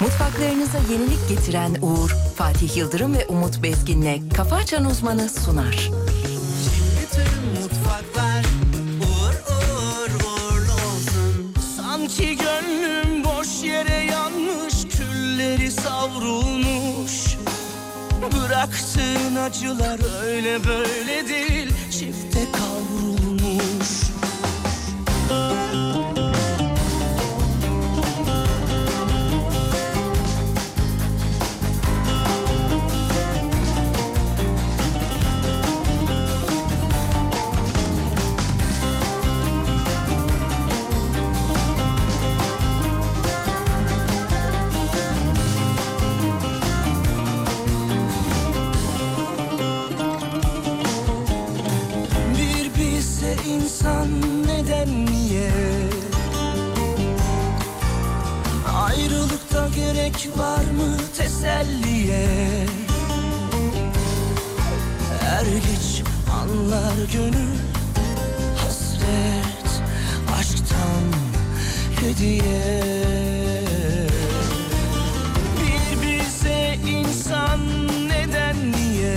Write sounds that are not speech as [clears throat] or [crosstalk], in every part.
Mutfaklarınıza yenilik getiren Uğur, Fatih Yıldırım ve Umut Bezgin'le Kafa Açan Uzmanı sunar. Bütün mutfaklar uğur uğur uğurlu olsun. Sanki gönlüm boş yere yanmış, külleri savrulmuş. Bıraktığın acılar öyle böyle değil, çifte kavrulmuş. Bir bilse insan neden niye Ayrılıkta gerek var mı teselliye Er geç anlar gönül Hasret aşktan hediye Bir bilse insan neden niye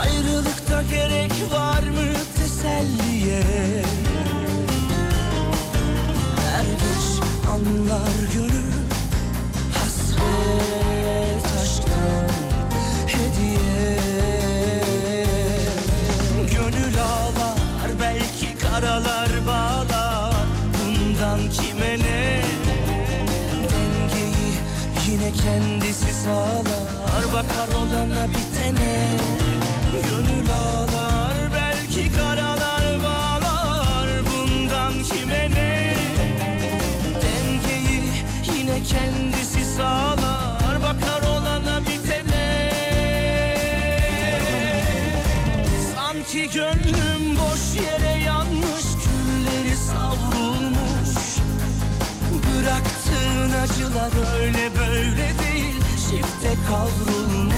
Ayrılıkta gerek var mı teselliye? Her geç anlar gönül hasret aşktan hediye. Gönül ağlar belki karalar bağlar bundan kime ne? dengeyi yine kendisi sağlar Bakar olana bitene Gönül ağlar belki karalar bağlar Bundan kime ne Dengeyi yine kendisi sağlar Bakar olana bitene Sanki gönlüm boş yere yanmış Külleri savrulmuş Bıraktığın acılar öyle böyle değil Çifte kavrulmuş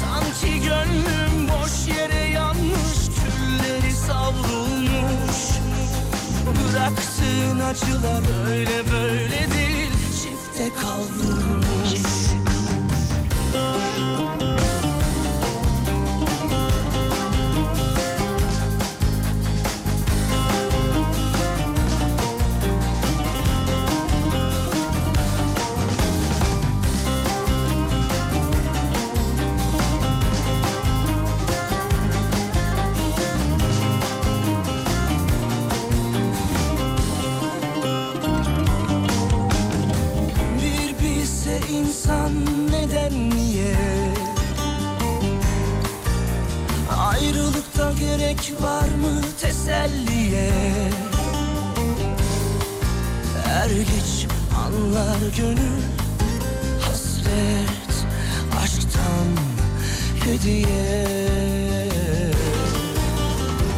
Sanki gönlüm boş yere yanmış Külleri savrulmuş Bıraktığın acılar öyle böyle değil Çifte kavrulmuş Bir bilse insan neden niye Ayrılıkta gerek var mı teselliye Er geç anlar gönül Hasret aşktan hediye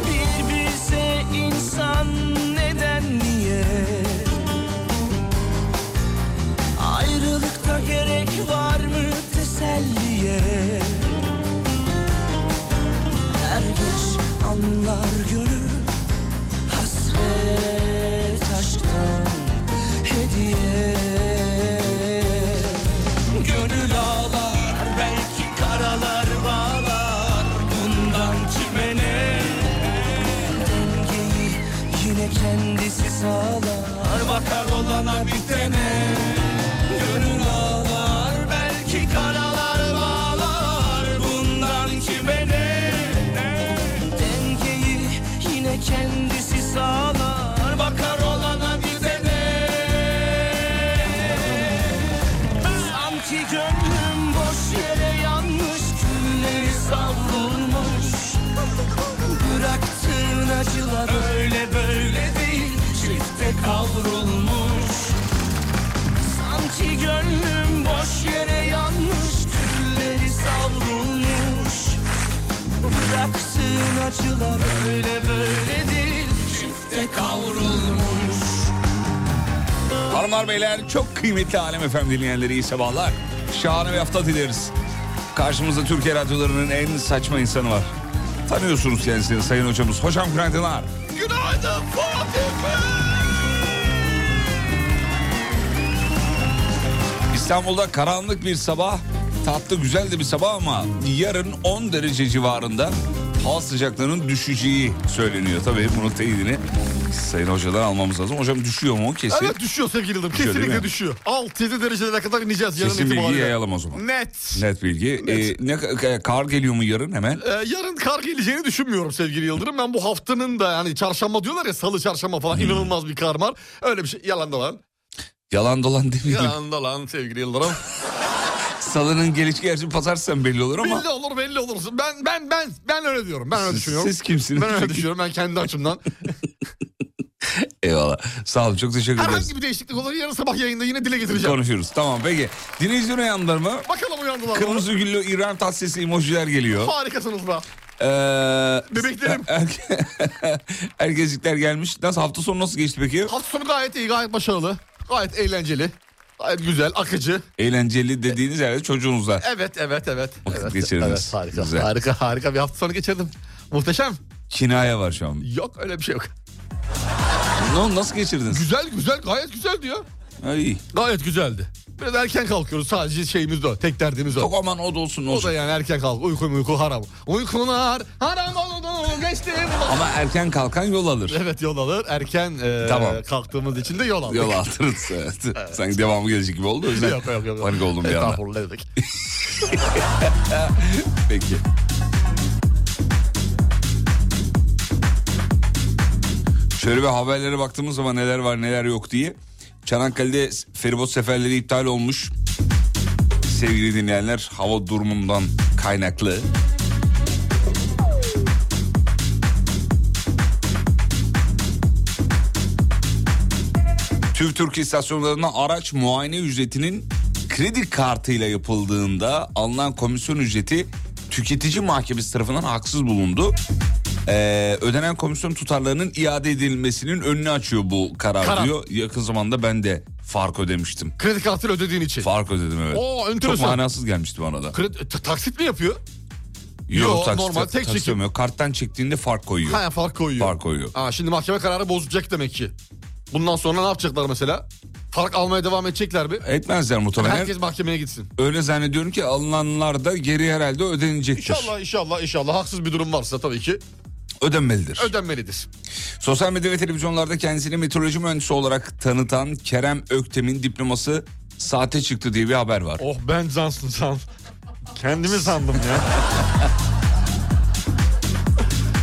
Bir bilse insan neden niye Ayrılıkta gerek var mı teselliye? Er geç anlar gönül hasret aşktan hediye. Gönül ağlar belki karalar bağlar bundan kime ne? dengeyi yine kendisi sağlar Bakar olana bitene Gönül ağlar belki karalar bağlar Bundan kime ne Dengeyi yine kendisi sağlar Bakar olana bitene Sanki gönlüm boş yere yanmış Külleri savrulmuş Bıraktığın acılar öyle böyle değil Çifte kavrulmuş Sanki gönlüm boş yere yanmış Külleri savrulmuş Bıraktığın acılar öyle böyle değil Çifte kavrulmuş Hanımlar beyler çok kıymetli Alem Efem dinleyenleri iyi sabahlar. Şahane bir hafta dileriz. Karşımızda Türkiye radyolarının en saçma insanı var. Tanıyorsunuz kendisini sayın hocamız. Hocam günaydınlar. Günaydın Fatih Bey İstanbul'da karanlık bir sabah, tatlı güzel de bir sabah ama yarın 10 derece civarında hava sıcaklığının düşeceği söyleniyor. Tabii bunun teyidini Sayın Hoca'dan almamız lazım. Hocam düşüyor mu? Kesin. Evet düşüyor sevgili yıldırım. Düşüyor, Kesinlikle değil mi? düşüyor. 6-7 derecelere kadar ineceğiz yarın Kesin bilgiyi itibariyle. yayalım o zaman. Net. Net bilgi. Ee, ne ka- kar geliyor mu yarın hemen? Ee, yarın kar geleceğini düşünmüyorum sevgili Yıldırım. Ben bu haftanın da yani çarşamba diyorlar ya salı çarşamba Hmm. falan inanılmaz bir kar var. Öyle bir şey yalan da lan. Yalan dolan demeyelim. Yalan da lan sevgili Yıldırım. [laughs] Salının gelişi gerçi pazarsan belli olur ama. belli olur belli olur. Ben ben ben ben öyle diyorum. Ben öyle düşünüyorum. Siz kimsiniz? Ben öyle düşünüyorum. Ben [laughs] kendi açımdan. Eyvallah. Sağ olun çok teşekkür ederiz. Herhangi bir değişiklik olur yarın sabah yayında yine dile getireceğim. Konuşuruz. Tamam peki. Dinleyiciler uyandılar mı? Bakalım uyandılar mı? Kırmızı güllü İran tatsisi emojiler geliyor. Harikasınız be. Ee, [laughs] Bebeklerim. erke- Erkecikler gelmiş. Nasıl hafta sonu nasıl geçti peki? Hafta sonu gayet iyi, gayet başarılı. Gayet eğlenceli. Gayet güzel, akıcı. Eğlenceli dediğiniz herhalde [laughs] çocuğunuzla. Evet, evet, evet. Vakit evet, geçirdiniz. Evet, harika, Güzel. harika, harika bir hafta sonu geçirdim. Muhteşem. Kinaya var şu an. Yok öyle bir şey yok. Ne- Nasıl geçirdiniz? Güzel, güzel, gayet güzel diyor. Ay. Gayet güzeldi. Biraz erken kalkıyoruz sadece şeyimiz de o. Tek derdimiz o. Çok aman o da olsun ne O olsun. da yani erken kalk. Uyku uyku haram. Uykular haram oldu geçti. Ama erken kalkan yol alır. Evet yol alır. Erken e, Tamam. kalktığımız için de yol aldık. Yol [laughs] aldınız. Evet. Sanki devamı gelecek gibi oldu. O yüzden Yok yok yok. panik oldum bir anda. Estağfurullah dedik. [laughs] Peki. Şöyle bir haberlere baktığımız zaman neler var neler yok diye. Çanakkale'de feribot seferleri iptal olmuş. Sevgili dinleyenler hava durumundan kaynaklı. TÜV Türk istasyonlarında araç muayene ücretinin kredi kartıyla yapıldığında alınan komisyon ücreti tüketici mahkemesi tarafından haksız bulundu. Ee, ödenen komisyon tutarlarının iade edilmesinin önünü açıyor bu karar, Karar. diyor. Yakın zamanda ben de fark ödemiştim. Kredi kartını ödediğin için. Fark ödedim evet. Oo, Çok enteresan. manasız gelmişti bana da. Kredi, t- taksit mi yapıyor? Yok, Yo, taksit- normal, tek taksit çekim. olmuyor. Karttan çektiğinde fark koyuyor. Ha fark koyuyor. Fark koyuyor. Ha, şimdi mahkeme kararı bozacak demek ki. Bundan sonra ne yapacaklar mesela? Fark almaya devam edecekler mi? Etmezler muhtemelen. Herkes mahkemeye gitsin. Öyle zannediyorum ki alınanlar da geri herhalde ödenecektir. İnşallah inşallah inşallah haksız bir durum varsa tabii ki Ödenmelidir. ödenmelidir. Sosyal medya ve televizyonlarda kendisini meteoroloji mühendisi olarak tanıtan Kerem Öktem'in diploması saate çıktı diye bir haber var. Oh ben Johnson san. Kendimi sandım ya.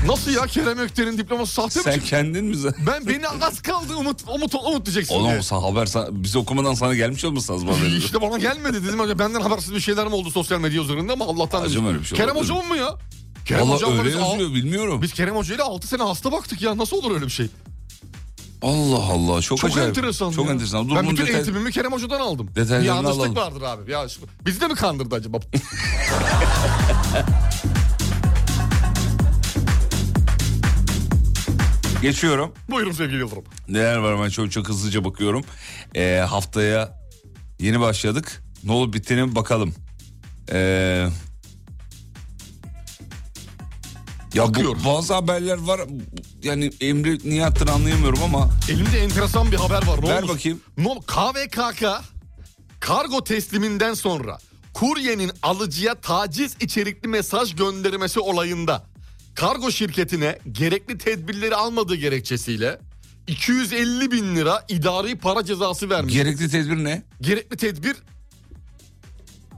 Nasıl ya Kerem Ökten'in diploması sahte mi Sen çıktı? kendin mi? z- Ben [laughs] beni az kaldı umut umut umut diyeceksin. Oğlum diye. sa- haber sa- biz okumadan sana gelmiş olmasınız bana. İşte bana gelmedi dedim acaba benden habersiz bir şeyler mi oldu sosyal medya üzerinde ama Allah'tan Hacım demiş. öyle bir şey Kerem olabilir mi? hocamın mı ya? Kerem Valla hocam var, öyle biz al- yazıyor bilmiyorum. Biz Kerem Hoca ile 6 sene hasta baktık ya nasıl olur öyle bir şey? [laughs] Allah Allah çok, Çok acayip. enteresan. Çok ya. enteresan. Dur, ben bunun bütün detay- eğitimimi Kerem Hoca'dan aldım. Bir Detaylarını yanlışlık alalım. vardır abi. Ya, şu- bizi de mi [laughs] kandırdı acaba? Geçiyorum. Buyurun sevgili Yıldırım. Neler var ben çok çok hızlıca bakıyorum. Ee, haftaya yeni başladık. Ne olup bittiğine bir bakalım. Ee, ya bu, Bakıyoruz. bazı haberler var. Yani Emre niye attığını anlayamıyorum ama Elimde enteresan bir haber var. Ne ver olur? bakayım. No, KVKK kargo tesliminden sonra kuryenin alıcıya taciz içerikli mesaj göndermesi olayında kargo şirketine gerekli tedbirleri almadığı gerekçesiyle 250 bin lira idari para cezası vermiş. Gerekli tedbir ne? gerekli tedbir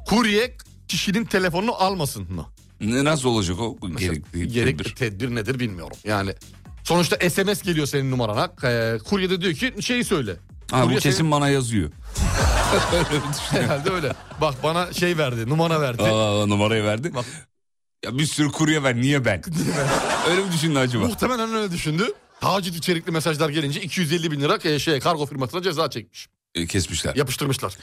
kurye kişinin telefonunu almasın mı? Ne- Nasıl olacak o? Gerekli, Gerekli tedbir. tedbir nedir bilmiyorum. Yani sonuçta SMS geliyor senin numarana. Ee, kurye de diyor ki şeyi söyle. Ha, bu Kurye kesin senin- bana yazıyor. [laughs] Herhalde öyle. Bak bana şey verdi, numara verdi. Aa, numarayı verdi. Bak. Ya bir sürü kurye ver niye [laughs] ben? Öyle mi düşündü acaba? Muhtemelen öyle düşündü. Taciz içerikli mesajlar gelince 250 bin lira e, şey kargo firmasına ceza çekmiş. E, Kesmişler. Yapıştırmışlar.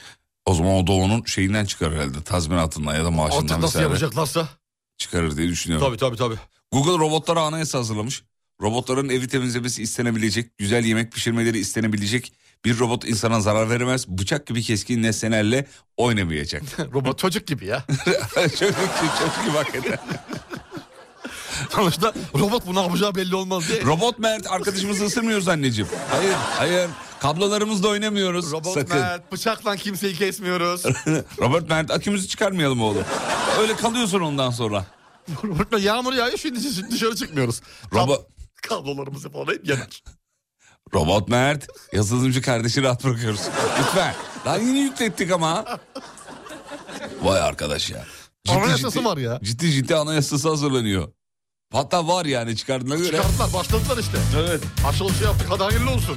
O zaman o da onun şeyinden çıkar herhalde. Tazminatından ya da maaşından Artık nasıl vesaire yapacaklarsa. [laughs] çıkarır diye düşünüyorum. Tabii tabii tabii. Google robotlara anayasa hazırlamış. Robotların evi temizlemesi istenebilecek, güzel yemek pişirmeleri istenebilecek. Bir robot insana zarar veremez. Bıçak gibi keskin nesnelerle oynamayacak. Robot çocuk [laughs] gibi ya. çok, çok, çok iyi bak eder. [laughs] Sonuçta robot bu ne yapacağı belli olmaz diye. Robot Mert arkadaşımızı ısırmıyoruz anneciğim. Hayır, hayır. Kablolarımızla oynamıyoruz. Robot Sakın. Mert, bıçakla kimseyi [laughs] kesmiyoruz. Robert Mert akümüzü çıkarmayalım oğlum. Öyle kalıyorsun ondan sonra. Robot Mert, yağmur yağıyor şimdi dışarı- dışarı çıkmıyoruz. Kab- Robo- kablolarımızı falan hep yanar. [laughs] Robot Mert yazılımcı kardeşi rahat bırakıyoruz. Lütfen. Daha yeni yüklettik ama. Vay arkadaş ya. Anayasası var ya. Ciddi ciddi anayasası hazırlanıyor. Hatta var yani çıkardığına göre. Çıkarttılar başladılar işte. Evet. Açılışı yaptık hadi hayırlı olsun.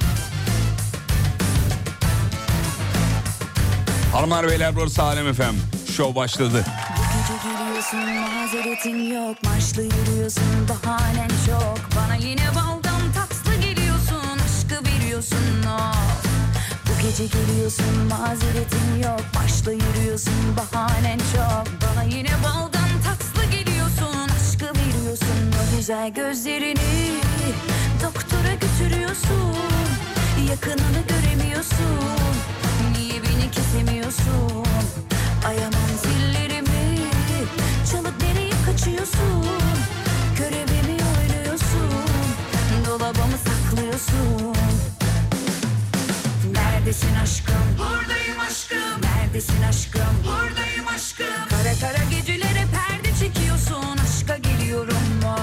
Hanımlar beyler burası Alem FM. Şov başladı. Gece geliyorsun mazeretin yok Maçlı yürüyorsun bahanen çok Bana yine baldan tatlı geliyorsun Aşkı veriyorsun oh. of Bu gece geliyorsun mazeretin yok Maçlı yürüyorsun bahanen çok Bana yine baldan tatlı geliyorsun Aşkı veriyorsun o güzel gözlerini Doktora götürüyorsun Yakınını göremiyorsun Niye beni kesemiyorsun Ayamam zillerimi Çalıp nereye kaçıyorsun Görevimi oynuyorsun Dolabımı saklıyorsun Neredesin aşkım Buradayım aşkım Neredesin aşkım Buradayım aşkım Kara kara gecelere perde çekiyorsun Aşka geliyorum mu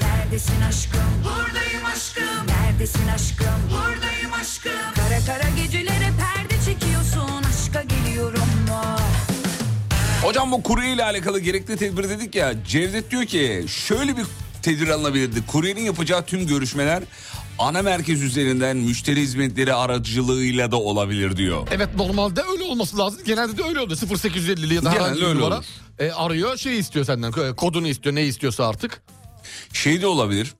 Neredesin aşkım Buradayım aşkım Neredesin aşkım Buradayım aşkım Kara kara gecelere perde çekiyorsun Aşka geliyorum mu Hocam bu kurye ile alakalı gerekli tedbir dedik ya. Cevdet diyor ki şöyle bir tedbir alınabilirdi. Kuryenin yapacağı tüm görüşmeler ana merkez üzerinden müşteri hizmetleri aracılığıyla da olabilir diyor. Evet normalde öyle olması lazım. Genelde de öyle oluyor. 0850 ya Genelde da herhangi bir öyle numara. olur. E, arıyor şey istiyor senden e, kodunu istiyor ne istiyorsa artık. Şey de olabilir.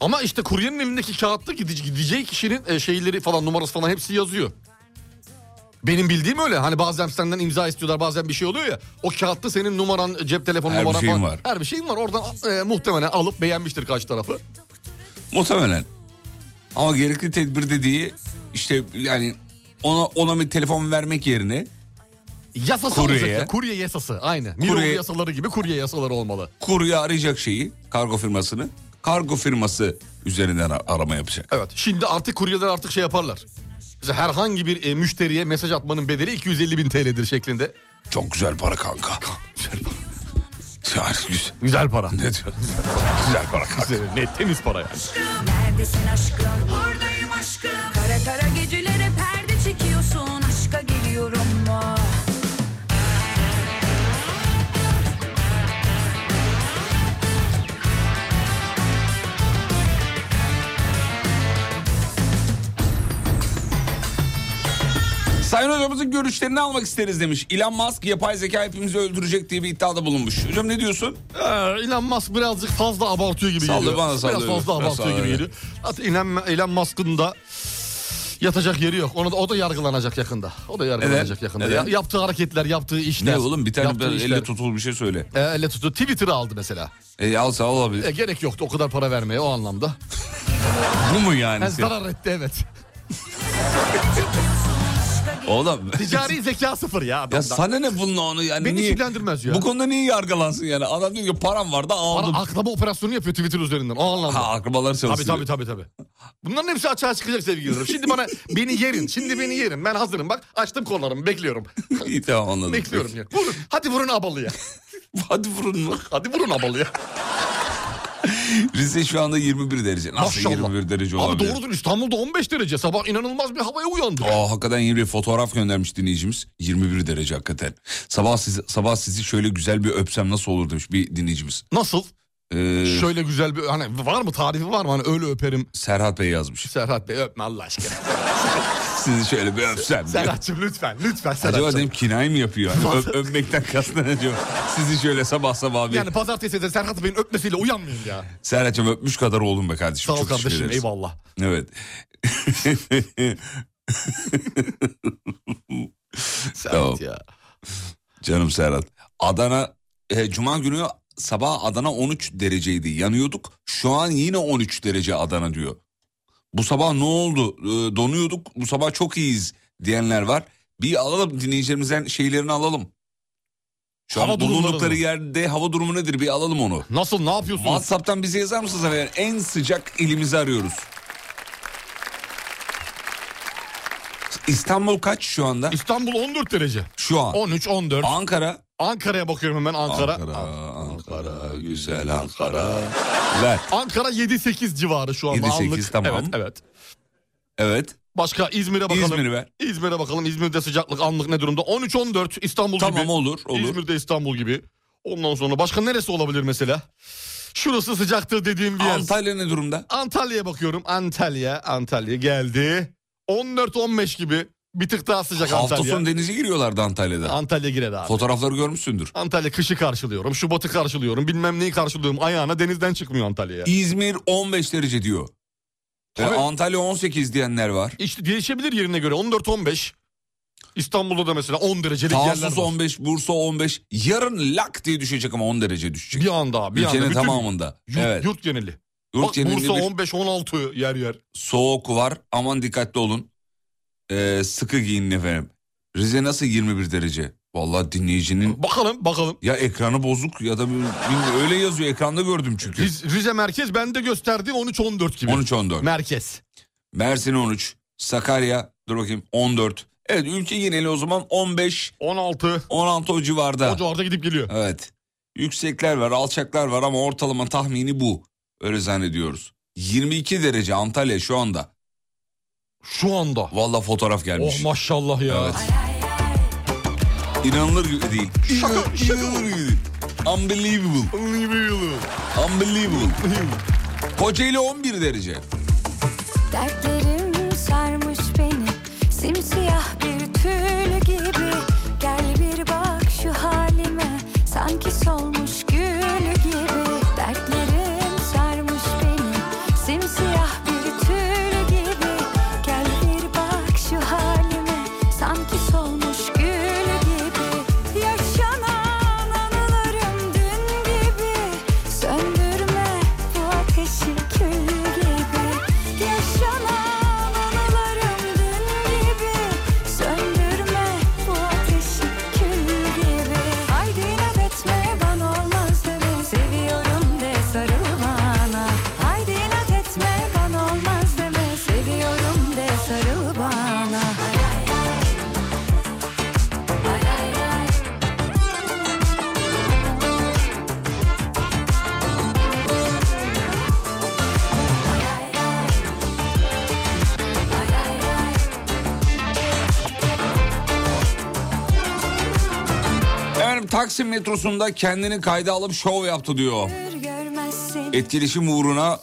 Ama işte kuryenin elindeki kağıtta gidece- gideceği kişinin e, şeyleri falan numarası falan hepsi yazıyor. Benim bildiğim öyle. Hani bazen senden imza istiyorlar bazen bir şey oluyor ya. O kağıtta senin numaran, e, cep telefonu Her bir numaran şeyin falan. var. Her bir şeyin var. Oradan e, muhtemelen alıp beğenmiştir kaç tarafı. Muhtemelen. Ama gerekli tedbir dediği işte yani ona, ona bir telefon vermek yerine Yasası Kurye. olacak ya. Kurye yasası. Aynı. Kurye. Kurye- yasaları gibi kurye yasaları olmalı. kurye arayacak şeyi kargo firmasını kargo firması üzerinden ar- arama yapacak. Evet. Şimdi artık kuryeler artık şey yaparlar. Mesela herhangi bir e, müşteriye mesaj atmanın bedeli 250 bin TL'dir şeklinde. Çok güzel para kanka. Yani güzel. Güzel para. Ne diyorsun? Güzel para kanka. Güzel, Net temiz para yani. Neredesin aşkım? Buradayım aşkım. Kara kara gecelere perde çekiyorsun. Aşka geliyorum mu? Sayın hocamızın görüşlerini almak isteriz demiş. Elon Musk yapay zeka hepimizi öldürecek diye bir iddiada bulunmuş. Hocam ne diyorsun? Ee, Elon Musk birazcık fazla abartıyor gibi Sallıyor geliyor. bana, Biraz sallıyor. fazla Biraz abartıyor gibi sallıyor. geliyor. Hatta Elon, Elon Musk'ın da yatacak yeri yok. Onu da, o da yargılanacak yakında. O da yargılanacak Neden? yakında. Neden? Ya- yaptığı hareketler, yaptığı işler. Ne oğlum bir tane yaptığı ben işler. elle tutulur bir şey söyle. Ee, elle tuttu. Twitter'ı aldı mesela. E, al sağ ol abi. E, gerek yoktu o kadar para vermeye o anlamda. Bu mu yani? Yani zarar etti evet. Oğlum. [laughs] Ticari zeka sıfır ya adamda. Ya sana ne bununla onu yani Beni niye? ilgilendirmez ya. Bu konuda niye yargılansın yani? Adam diyor ki param var da [laughs] Para aldım. aklama operasyonu yapıyor Twitter üzerinden o anlamda. ha akrabalar Tabii çalışıyor. tabii tabii tabii. Bunların hepsi açığa çıkacak sevgililerim. [laughs] Şimdi bana beni yerin. Şimdi beni yerin. Ben hazırım bak. Açtım kollarımı bekliyorum. İyi tamam anladım. bekliyorum ya. Vurun. Hadi vurun abalıya. [laughs] Hadi vurun mu? Hadi vurun abalıya. Rize şu anda 21 derece. Nasıl Maşallah. 21 derece Abi olabilir? doğrudur İstanbul'da 15 derece. Sabah inanılmaz bir havaya uyandık. Aa, hakikaten yeni bir fotoğraf göndermiş dinleyicimiz. 21 derece hakikaten. Sabah sizi, sabah sizi şöyle güzel bir öpsem nasıl olur demiş bir dinleyicimiz. Nasıl? Ee, Şöyle güzel bir hani var mı tarifi var mı? Hani öyle öperim. Serhat Bey yazmış. Serhat Bey öpme Allah aşkına. Sizi şöyle bir öpsem. Serhat'cığım lütfen lütfen Acaba Serhat'cığım. dedim kinay mı yapıyor? [laughs] Hani öp- öpmekten kastın acaba. Sizi şöyle sabah sabah bir... Yani pazartesi de Serhat Bey'in öpmesiyle uyanmayayım ya. Serhat'cığım öpmüş kadar oğlum be kardeşim. Sağ ol Çok teşekkür kardeşim ederiz. eyvallah. Evet. Tamam. [laughs] Serhat ya. Canım Serhat. Adana e, Cuma günü sabah Adana 13 dereceydi. Yanıyorduk. Şu an yine 13 derece Adana diyor. Bu sabah ne oldu? E, donuyorduk. Bu sabah çok iyiyiz diyenler var. Bir alalım dinleyicilerimizden şeylerini alalım. Şu Hava an durumları bulundukları mı? yerde hava durumu nedir? Bir alalım onu. Nasıl ne yapıyorsunuz? WhatsApp'tan bize yazar mısınız? efendim? En sıcak ilimizi arıyoruz. İstanbul kaç şu anda? İstanbul 14 derece. Şu an. 13 14. Ankara. Ankara'ya bakıyorum hemen Ankara. Ankara, Ankara, Ankara, güzel Ankara. Güzel. 7-8 civarı şu anda 7-8, anlık. tamam. Evet evet. Evet. Başka İzmir'e bakalım. İzmir'i ver. İzmir'e bakalım. İzmir'de sıcaklık anlık ne durumda? 13-14 İstanbul gibi. Tamam olur olur. İzmir'de İstanbul gibi. Ondan sonra başka neresi olabilir mesela? Şurası sıcaktır dediğim bir yer. Antalya ne durumda? Antalya'ya bakıyorum. Antalya, Antalya geldi. 14-15 gibi bir tık daha sıcak Hafta Antalya. sonu denize giriyorlardı Antalya'da. Antalya girer abi. Fotoğrafları görmüşsündür. Antalya kışı karşılıyorum, Şubat'ı karşılıyorum, bilmem neyi karşılıyorum. Ayağına denizden çıkmıyor Antalya'ya. İzmir 15 derece diyor. Ee, Tabii. Antalya 18 diyenler var. İşte değişebilir yerine göre 14-15. İstanbul'da da mesela 10 derecelik yerler Tarsus var. 15, Bursa 15. Yarın lak diye düşecek ama 10 derece düşecek. Bir anda bir Ülkenin anda. Bütün tamamında. Yurt, evet. yurt geneli. Yurt Bak genelinde Bursa bir 15-16 yer yer. soğuk var. Aman dikkatli olun. Ee, sıkı giyinin efendim. Rize nasıl 21 derece? Vallahi dinleyicinin Bakalım bakalım. ya ekranı bozuk ya da bir- bilmiyorum. öyle yazıyor. Ekranda gördüm çünkü. Riz- Rize merkez bende gösterdiği 13-14 gibi. 13-14. Merkez. Mersin 13. Sakarya dur bakayım 14. Evet ülke geneli o zaman 15 16. 16 o civarda. O civarda gidip geliyor. Evet. Yüksekler var, alçaklar var ama ortalama tahmini bu. Öyle zannediyoruz. 22 derece Antalya şu anda. Şu anda. Valla fotoğraf gelmiş. Oh maşallah ya. Evet. İnanılır gibi değil. Şaka- şaka mı? İnanılır gibi değil. Unbelievable. Unbelievable. Kocaeli 11 derece. Dertlerim sarmış beni Simsiyah bir tül gibi Gel bir bak şu halime Sanki solmuş gül gibi Dertlerim sarmış beni Simsiyah bir tül gibi Gel bir bak şu halime Sanki solmuş gül gibi Yaşanan anılarım dün gibi Söndürme bu ateşi kül gibi Yaşanan anılarım dün gibi Söndürme bu ateşi kül gibi Haydi inat etme bana olmaz deme Seviyorum de sarıl bana Haydi inat etme bana olmaz deme Seviyorum de sarıl bana Ay, ay, ay. Efendim Taksim metrosunda kendini kayda alıp şov yaptı diyor. Görmezsin Etkileşim uğruna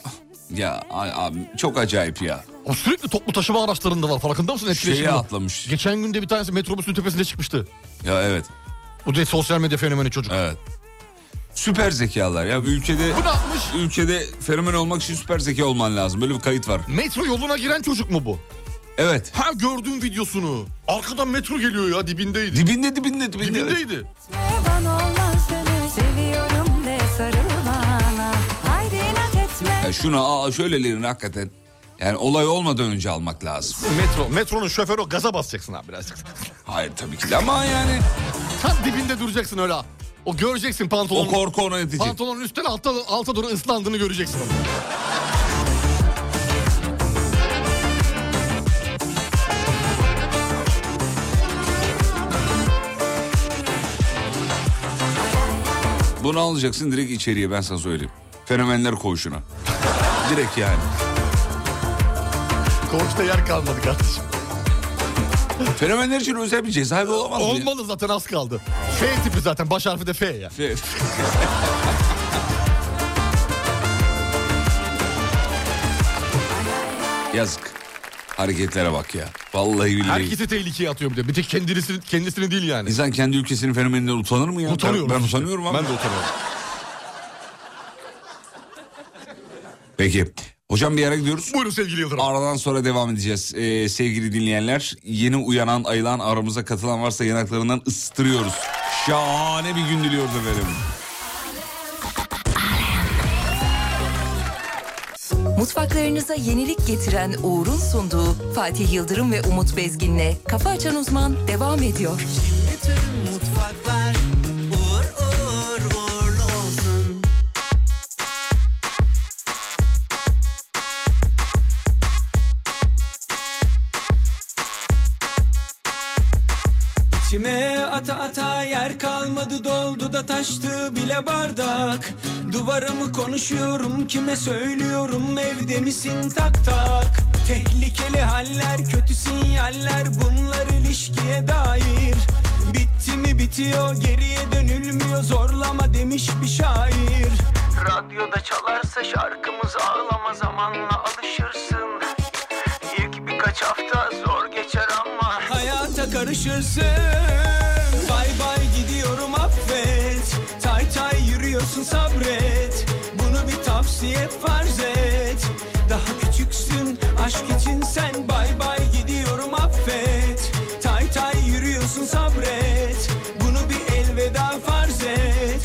ya ay- abi, çok acayip ya. O sürekli toplu taşıma araçlarında var. Farkında mısın etkileşimi? Şeyi atlamış. Geçen günde bir tanesi metrobüsün tepesinde çıktı. Ya evet. Bu da sosyal medya fenomeni çocuk. Evet. Süper zekalar ya ülkede Bu ne yapmış? ülkede fenomen olmak için süper zeka olman lazım. Böyle bir kayıt var. Metro yoluna giren çocuk mu bu? Evet. Ha gördüm videosunu. Arkadan metro geliyor ya dibindeydi. Dibinde dibinde dibinde. dibindeydi. Bana olmaz deme Seviyorum de sarıl bana Haydi inat etme Ya şuna aa şöylelerini hakikaten yani olay olmadan önce almak lazım. Metro. Metronun şoförü o gaza basacaksın abi birazcık. [laughs] Hayır tabii ki de ama yani Tam dibinde duracaksın öyle. O göreceksin o pantolonun. korku ona yetecek. Pantolonun üstten alta, alta doğru ıslandığını göreceksin. onu. Bunu alacaksın direkt içeriye ben sana söyleyeyim. Fenomenler [laughs] koğuşuna. direkt yani. Koğuşta yer kalmadı kardeşim. [laughs] Fenomenler için özel bir cezaevi olamaz mı? ya? Olmalı zaten az kaldı. F tipi zaten baş harfi de F ya. [laughs] [laughs] Evet. Yazık. Hareketlere bak ya. Vallahi billahi. Herkese tehlikeye atıyor bir de. Bir tek kendisini, kendisini değil yani. İnsan kendi ülkesinin fenomeninden utanır mı ya? Utanıyorum. Ben, ben işte. utanıyorum abi. Ben de utanıyorum. Peki. Hocam bir yere gidiyoruz. Buyurun sevgili Yıldırım. Aradan sonra devam edeceğiz. Ee, sevgili dinleyenler yeni uyanan ayılan aramıza katılan varsa yanaklarından ısıtırıyoruz. Şahane bir gün diliyoruz efendim. Mutfaklarınıza yenilik getiren Uğur'un sunduğu Fatih Yıldırım ve Umut Bezgin'le Kafa Açan Uzman devam ediyor. Bütün mutfaklar uğur uğur uğurlu olsun İçime ata ata yer kalmadı doldu da taştı bile bardak Duvarımı konuşuyorum kime söylüyorum evde misin tak tak Tehlikeli haller kötü sinyaller bunlar ilişkiye dair Bitti mi bitiyor geriye dönülmüyor zorlama demiş bir şair Radyoda çalarsa şarkımız ağlama zamanla alışırsın İlk birkaç hafta zor geçer ama Hayata karışırsın Bay bay gidiyorum affet Tay tay yürüyorsun sabret Bunu bir tavsiye farz et Daha küçüksün aşk için sen Bay bay gidiyorum affet Tay tay yürüyorsun sabret Bunu bir elveda farz et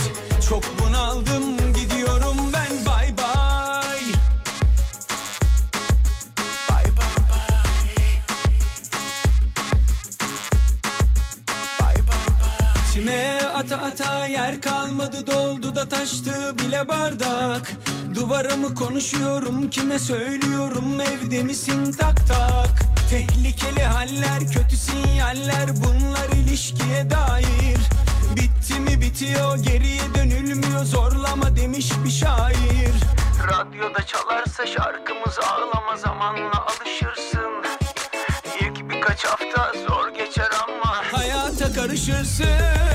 Çok bunaldım gidiyorum ben bay bay Bay bay bay Bay bay bay İçime ata ata yer kalmadı doldu da taştı bile bardak Duvarımı konuşuyorum kime söylüyorum evde misin tak tak Tehlikeli haller kötü sinyaller bunlar ilişkiye dair Bitti mi bitiyor geriye dönülmüyor zorlama demiş bir şair Radyoda çalarsa şarkımız ağlama zamanla alışırsın İlk birkaç hafta zor geçer ama Hayata karışırsın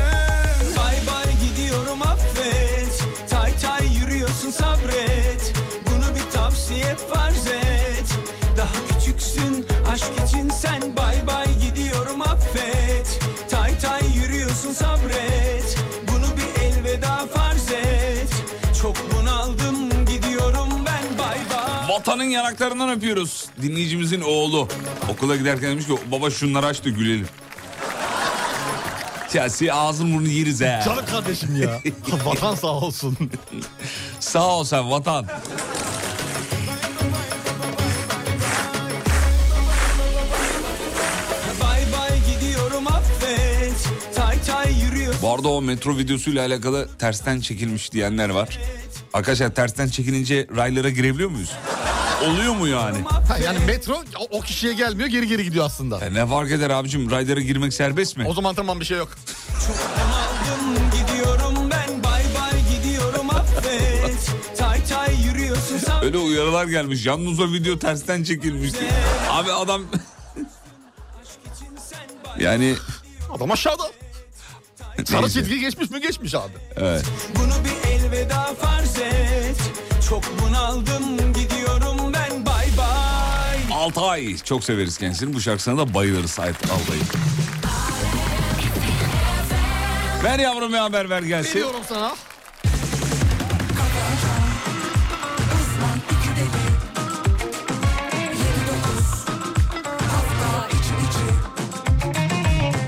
Bay bay gidiyorum affet Tay tay yürüyorsun sabret Bunu bir tavsiye farz et Daha küçüksün aşk için sen Bay bay gidiyorum affet Tay tay yürüyorsun sabret Bunu bir elveda farz et Çok bunaldım gidiyorum ben bay bay Vatanın yanaklarından öpüyoruz. Dinleyicimizin oğlu. Okula giderken demiş ki baba şunları aç da gülelim. Siyasi ağzın burnunu yeriz he. Canım [laughs] kardeşim ya. Vatan sağ olsun. Sağ ol sen vatan. Bay bay gidiyorum affet Tay tay yürüyor Bu arada o metro videosuyla alakalı tersten çekilmiş diyenler var. Arkadaşlar tersten çekilince raylara girebiliyor muyuz? Oluyor mu yani? Ha, yani metro o- o kişiye gelmiyor geri geri gidiyor aslında. E ne fark eder abicim raylara girmek serbest mi? O zaman tamam bir şey yok. aldım gidiyorum ben Bay bay gidiyorum affet Tay tay yürüyorsun sen Öyle uyarılar gelmiş. Yalnız o video tersten çekilmişti. Abi adam [laughs] yani Adam aşağıda. Sarı çizgi geçmiş mi geçmiş abi. evet. Bunu bir elveda farz et Çok bunaldım gidiyorum ben bay bay Altay çok severiz kendisini. Bu şarkısına da bayılırız Alt- Altay'ı. Ver yavrum bir haber ver gelsin. Geliyorum sana.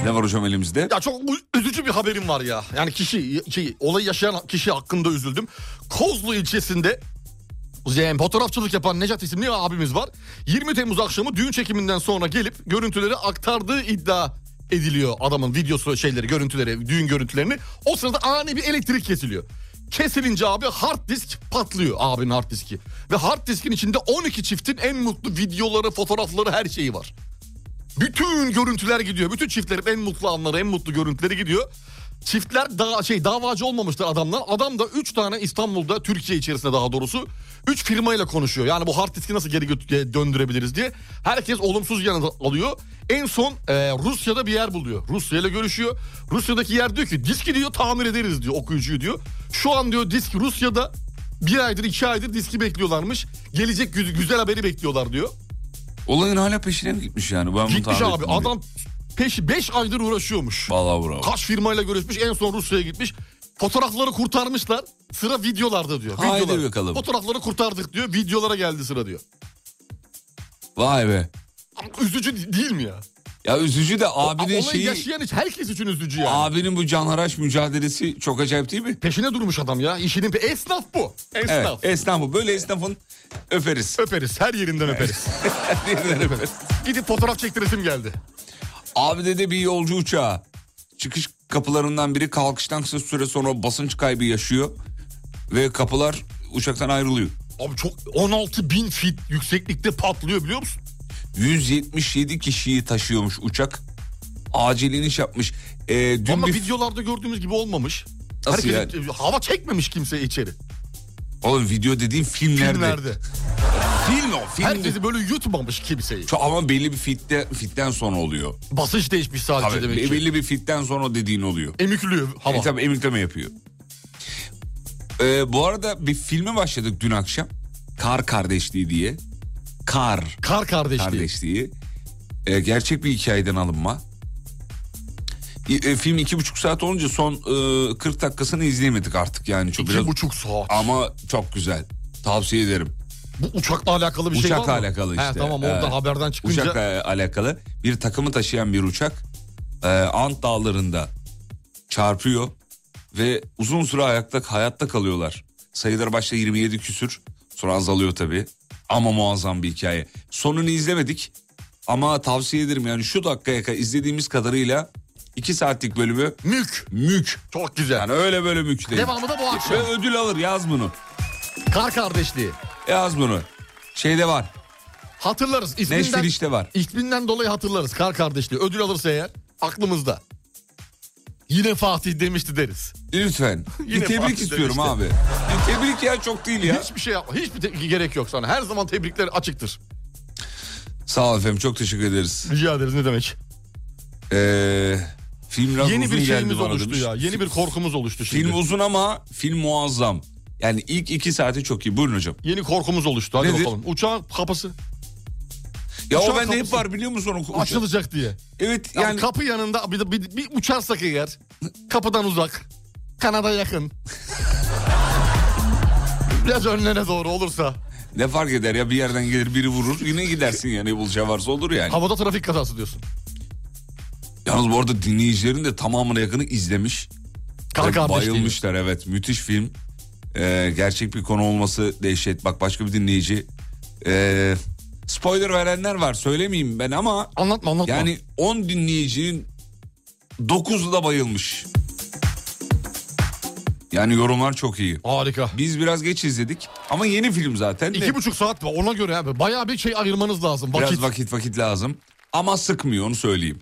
Ne var hocam elimizde? Ya çok u- üzücü bir haberim var ya. Yani kişi, şey, olayı yaşayan kişi hakkında üzüldüm. Kozlu ilçesinde yani fotoğrafçılık yapan Necat isimli abimiz var. 20 Temmuz akşamı düğün çekiminden sonra gelip görüntüleri aktardığı iddia ediliyor adamın videosu şeyleri görüntüleri düğün görüntülerini. O sırada ani bir elektrik kesiliyor. Kesilince abi hard disk patlıyor abinin hard diski. Ve hard diskin içinde 12 çiftin en mutlu videoları, fotoğrafları her şeyi var. Bütün görüntüler gidiyor. Bütün çiftlerin en mutlu anları, en mutlu görüntüleri gidiyor. Çiftler daha şey davacı olmamışlar adamlar. Adam da 3 tane İstanbul'da Türkiye içerisinde daha doğrusu 3 firmayla konuşuyor. Yani bu hard diski nasıl geri gö- döndürebiliriz diye. Herkes olumsuz yanı alıyor. En son e, Rusya'da bir yer buluyor. Rusya ile görüşüyor. Rusya'daki yer diyor ki diski diyor tamir ederiz diyor okuyucuyu diyor. Şu an diyor disk Rusya'da bir aydır iki aydır diski bekliyorlarmış. Gelecek gü- güzel haberi bekliyorlar diyor. Olayın hala peşine mi gitmiş yani? Ben bunu Gitmiş tahmin abi etmedim. adam peşi 5 aydır uğraşıyormuş. Vallahi bravo. Kaç firmayla görüşmüş en son Rusya'ya gitmiş. Fotoğrafları kurtarmışlar. Sıra videolarda diyor. Haydi Videolar. bakalım. Fotoğrafları kurtardık diyor. Videolara geldi sıra diyor. Vay be. Abi Üzücü de- değil mi ya? Ya üzücü de Abi abinin Olayı şeyi... yaşayan hiç herkes için üzücü yani. Abinin bu canharaş mücadelesi çok acayip değil mi? Peşine durmuş adam ya. İşinin pe- esnaf bu. Evet. Esnaf. Esnafı. Böyle esnafın öperiz. Öperiz. Her [laughs] yerinden öperiz. Diğerinden öperiz. Gidip fotoğraf çektiresim geldi. Abi dedi bir yolcu uçağı. Çıkış kapılarından biri kalkıştan kısa süre sonra basınç kaybı yaşıyor. Ve kapılar uçaktan ayrılıyor. Abi çok 16 bin fit yükseklikte patlıyor biliyor musun? 177 kişiyi taşıyormuş uçak. acilini iş yapmış. Ee, dün Ama bir... videolarda gördüğümüz gibi olmamış. Nasıl Herkes hava çekmemiş kimse içeri. Oğlum video dediğin filmlerde. Filmlerde. Film o film. Herkesi böyle yutmamış kimseyi. Şu- Ama belli bir fitte, fitten sonra oluyor. Basınç değişmiş sadece Tabii, demek ki. belli bir fitten sonra o dediğin oluyor. Emikliyor hava. E, tabii emikleme yapıyor. Ee, bu arada bir filme başladık dün akşam. Kar Kardeşliği diye. Kar Kar kardeşliği. Kardeşliği. Ee, gerçek bir hikayeden alınma. E, e, film iki buçuk saat olunca son e, 40 dakikasını izleyemedik artık yani. Çok İki biraz... buçuk saat. Ama çok güzel. Tavsiye ederim. Bu uçakla alakalı bir şey var Uçakla mı? alakalı He, işte. tamam orada Evet. haberden çıkınca. Uçakla alakalı bir takımı taşıyan bir uçak e, Ant Dağları'nda çarpıyor ve uzun süre ayakta hayatta kalıyorlar. Sayılar başta 27 küsür sonra azalıyor tabii ama muazzam bir hikaye. Sonunu izlemedik ama tavsiye ederim yani şu dakikaya kadar izlediğimiz kadarıyla 2 saatlik bölümü Mük. mük. Çok güzel. Yani öyle böyle mük değil. Devamı da bu akşam. Ve ödül alır yaz bunu Kar kardeşliği. yaz bunu. Şeyde var Hatırlarız. İsminden, Neşfiriş'te var. isminden dolayı hatırlarız. Kar kardeşliği. Ödül alırsa eğer aklımızda. Yine Fatih demişti deriz. [laughs] Lütfen. Yine bir tebrik Fatih istiyorum demişti. abi. Bir tebrik ya çok değil ya. Hiçbir şey yapma. Hiçbir te- gerek yok sana. Her zaman tebrikler açıktır. Sağ ol efendim çok teşekkür ederiz. Rica ederiz ne demek. Ee, film biraz Yeni uzun bir geldi şeyimiz bana oluştu demiş. ya. Yeni bir korkumuz oluştu şimdi. Film uzun ama film muazzam. Yani ilk iki saati çok iyi. Buyurun hocam. Yeni korkumuz oluştu. Hadi Nedir? bakalım. Uçağın kapısı Ya Uçağın o bende hep kapısı- var biliyor musun? O- açılacak diye. Evet Yani, yani kapı yanında bir, bir, bir uçarsak eğer kapıdan uzak, kanada yakın. Biraz önlere doğru olursa ne fark eder ya bir yerden gelir biri vurur yine gidersin yani bulacağı varsa olur yani. havada trafik kazası diyorsun. Yalnız bu arada dinleyicilerin de tamamına yakını izlemiş. Kar Ve kardeşliği. bayılmışlar evet müthiş film. Ee, gerçek bir konu olması dehşet. Bak başka bir dinleyici. Ee, spoiler verenler var söylemeyeyim ben ama Anlatma anlatma. yani 10 dinleyicinin 9'u da bayılmış. Yani yorumlar çok iyi. Harika. Biz biraz geç izledik ama yeni film zaten. de İki buçuk saat var ona göre abi. Bayağı bir şey ayırmanız lazım. Vakit. Biraz vakit vakit lazım. Ama sıkmıyor onu söyleyeyim.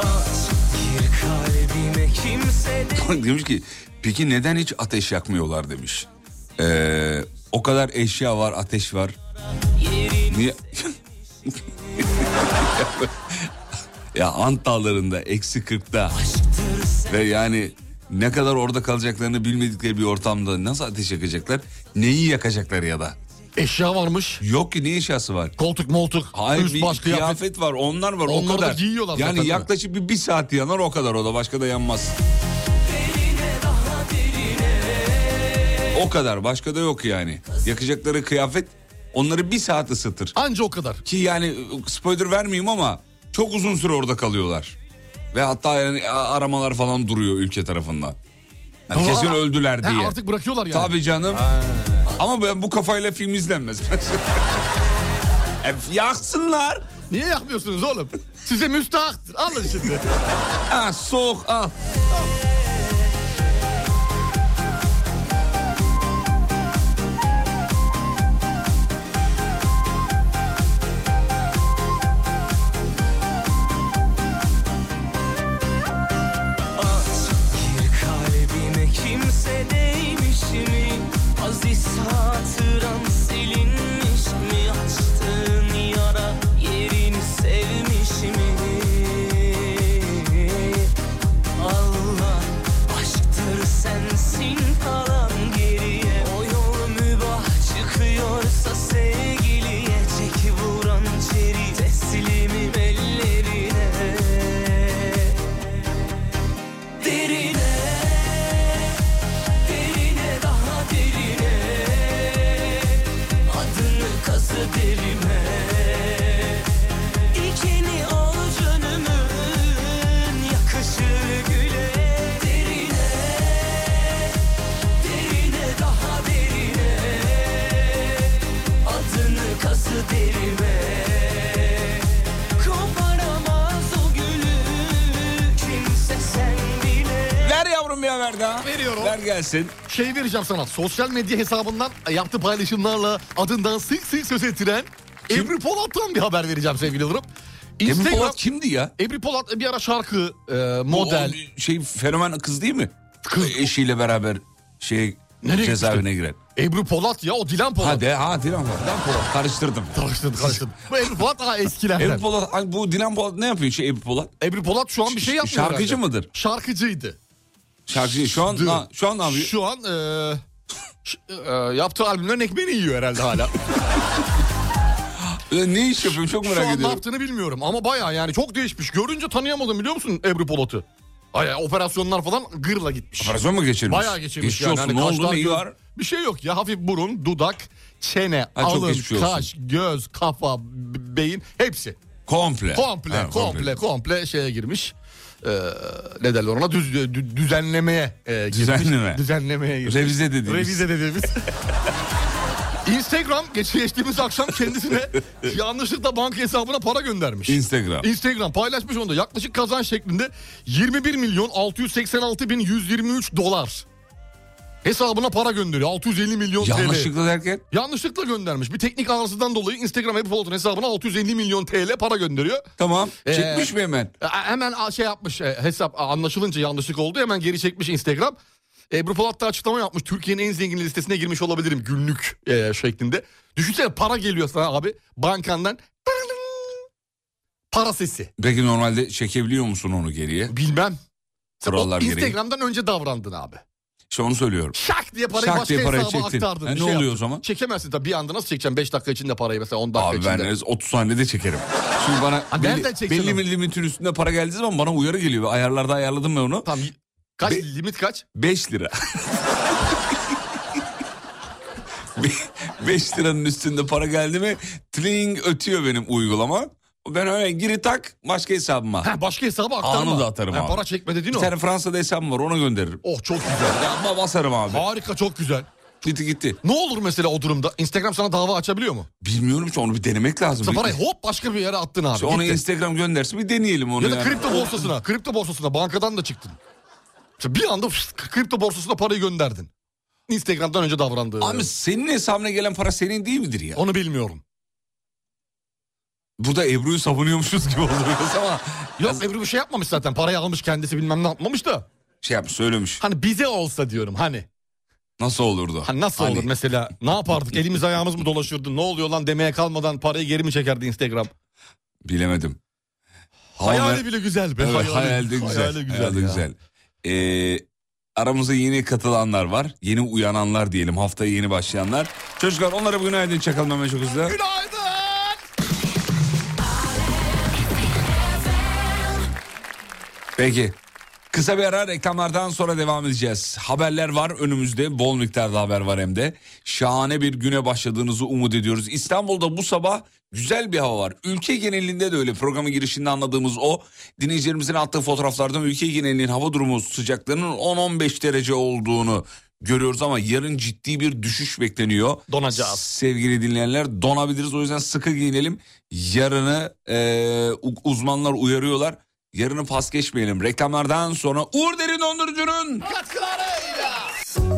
At gir kalbime kimse de demiş ki peki neden hiç ateş yakmıyorlar demiş. Ee, o kadar eşya var ateş var. Niye? [laughs] ya Ant Dağları'nda eksi 40'ta ve yani ne kadar orada kalacaklarını bilmedikleri bir ortamda nasıl ateş yakacaklar? Neyi yakacaklar ya da? Eşya varmış. Yok ki ne eşyası var? Koltuk moltuk. Hayır üst bir baş kıyafet, kıyafet. var onlar var o Onları da kadar. giyiyorlar zaten, yani değil mi? yaklaşık bir, bir saat yanar o kadar o da başka da yanmaz. O kadar başka da yok yani. Yakacakları kıyafet onları bir saat ısıtır. Anca o kadar. Ki yani spoiler vermeyeyim ama çok uzun süre orada kalıyorlar. Ve hatta yani a- aramalar falan duruyor ülke tarafından. Yani Ama- kesin öldüler He, diye. artık bırakıyorlar yani. Tabii canım. Ama ben bu kafayla film izlenmez. [laughs] E, Yaksınlar. Niye yakmıyorsunuz oğlum? Size müstahaktır. Alın şimdi. Ha, soğuk al. At gir kalbime kimse değmiş mi? Aziz hatıran silinmiş mi? Açtığın yara yerini sevmiş mi? Al bir haber daha. Veriyorum. Ver gelsin. Şey vereceğim sana. Sosyal medya hesabından yaptığı paylaşımlarla adından sık sık söz ettiren Ebru Polat'tan bir haber vereceğim sevgili Yıldırım. Ebru Instagram- Polat kimdi ya? Ebru Polat bir ara şarkı e, O- model. o bir şey fenomen kız değil mi? E, Kız. Eşiyle beraber şey Nereye cezaevine gitti? giren. Ebru Polat ya o Dilan Polat. Ha de ha Dilan Polat. Dilan Polat. Karıştırdım. Karıştırdın karıştırdın. Bu Ebru Polat daha eskilerden. Ebru Polat ay bu Dilan Polat ne yapıyor şey Ebru Polat? Ebru Polat şu an bir şey Ş- yapmıyor şarkıcı herhalde. mıdır? Şarkıcıydı. Şarkıcı şu an Dı. ha, şu an ne yapıyor? Şu an e, ş- e, yaptığı albümlerin ekmeğini yiyor [laughs] herhalde hala. E, Ne iş yapıyor çok Şu merak an ne ediyorum. yaptığını bilmiyorum ama baya yani çok değişmiş. Görünce tanıyamadım biliyor musun Ebru Polat'ı? Ay, operasyonlar falan gırla gitmiş. Operasyon mu geçirmiş? Bayağı geçirmiş Geçmiş yani. olsun. Hani ne kaşlar, oldu neyi göz- var? Bir şey yok ya hafif burun, dudak, çene, çok alın, geçmiş olsun. kaş, göz, kafa, b- beyin hepsi. Komple. Komple, Ha, komple, komple şeye girmiş. Ee, ne derler ona? Düz, dü- düzenlemeye e, girmiş. Düzenleme. Düzenlemeye girmiş. Revize dediğimiz. [laughs] Revize dediğimiz. Instagram geç, geçtiğimiz akşam [laughs] kendisine yanlışlıkla banka hesabına para göndermiş. Instagram. Instagram paylaşmış onu da yaklaşık kazanç şeklinde 21 milyon 686 bin 123 dolar. Hesabına para gönderiyor 650 milyon TL. Yanlışlıkla derken Yanlışlıkla göndermiş. Bir teknik arızadan dolayı Instagram Apple Polat'ın hesabına 650 milyon TL para gönderiyor. tamam Ee, çekmiş mi hemen? E, Hemen a- şey yapmış e, hesap a, anlaşılınca yanlışlık oldu hemen geri çekmiş Instagram. Ebru Polat da açıklama yapmış. Türkiye'nin en zengin listesine girmiş olabilirim günlük e, şeklinde. Düşünsene para geliyor sana abi bankandan. [laughs] Para sesi. Peki normalde çekebiliyor musun onu geriye? Bilmem. Sen o Kurallar gereği. Instagram'dan önce davrandın abi. İşte onu söylüyorum. Şak diye parayı Şak başka diye parayı hesaba çektin. aktardın. E, bir ne şey oluyor yaptın. o zaman? Çekemezsin tabii bir anda nasıl çekeceksin 5 dakika içinde parayı mesela 10 dakika Abi ben içinde. en az 30 saniyede çekerim. Şimdi bana Ha, nereden belli, çeksin belli onu? bir limitin üstünde para geldiği zaman bana uyarı geliyor. Ayarlarda ayarladım ben onu. Tamam, kaç Be- limit kaç? 5 lira. 5 liranın üstünde para geldi mi tling ötüyor benim uygulama. Ben öyle giri tak başka hesabıma. Ha, başka hesaba aktarma. Anı da atarım Ha, abi. Para çekme Bir dediğin o. tane Fransa'da hesabım var ona gönderirim. Oh çok güzel. Ama basarım abi. Harika çok güzel. Gitti gitti. Ne olur mesela o durumda? Instagram sana dava açabiliyor mu? Bilmiyorum ki onu bir denemek lazım. Sen Bir- parayı hop başka bir yere attın abi. İşte onu gitti. Instagram göndersin bir deneyelim onu. Ya da yani. kripto borsasına, kripto borsasına bankadan da çıktın. İşte bir anda fıst, kripto borsasına parayı gönderdin. Instagram'dan önce davrandığı. Abi senin hesabına gelen para senin değil midir ya? Onu bilmiyorum. Burada Ebru'yu savunuyormuşuz gibi oldu biraz ama [laughs] Yok Ebru bir şey yapmamış zaten. Parayı almış kendisi bilmem ne yapmamış da. şey yapmış söylemiş. Hani bize olsa diyorum hani. Nasıl olurdu? Hani nasıl olur mesela? Ne yapardık? Elimiz ayağımız mı dolaşırdı? Ne oluyor lan demeye kalmadan parayı geri mi çekerdi Instagram? Bilemedim. Ama- Hayali bile güzel be. Evet, hayali, hayalde güzel. Hayali güzel. hayalde ya. güzel. Ee, aramıza yeni katılanlar var. Yeni uyananlar diyelim. Haftaya yeni başlayanlar. Çocuklar onlara bugün günaydın çakalım hemen çok hızlı. Günaydın. Peki. Kısa bir ara reklamlardan sonra devam edeceğiz. Haberler var önümüzde bol miktarda haber var hem de. Şahane bir güne başladığınızı umut ediyoruz. İstanbul'da bu sabah güzel bir hava var. Ülke genelinde de öyle programın girişinde anladığımız o. Dinleyicilerimizin attığı fotoğraflardan ülke genelinin hava durumu sıcaklığının 10-15 derece olduğunu görüyoruz ama yarın ciddi bir düşüş bekleniyor. Donacağız. Sevgili dinleyenler donabiliriz o yüzden sıkı giyinelim. Yarını e, u- uzmanlar uyarıyorlar. Yarını pas geçmeyelim. Reklamlardan sonra Uğur Derin Dondurucu'nun...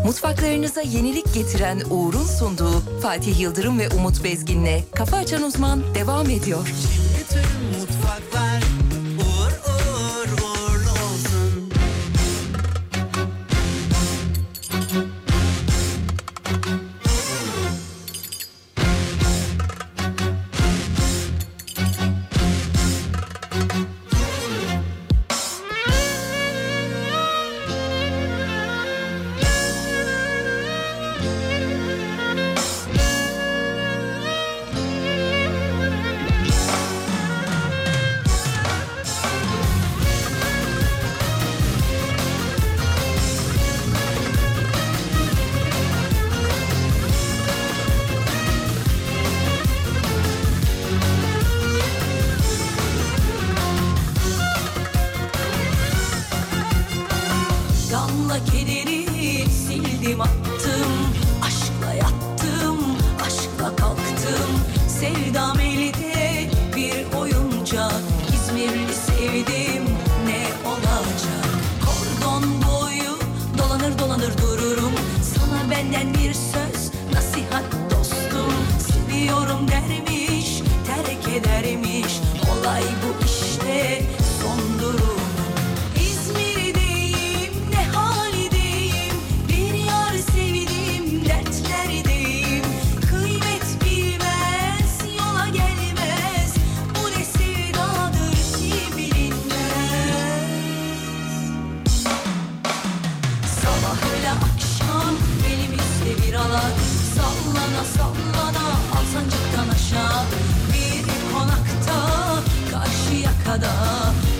Mutfaklarınıza yenilik getiren Uğur'un sunduğu Fatih Yıldırım ve Umut Bezgin'le Kafa Açan Uzman devam ediyor. Gamla kederi sildim attım Aşkla yattım, aşkla kalktım Sevdam elde bir oyuncak İzmirli sevdim ne olacak Kordon boyu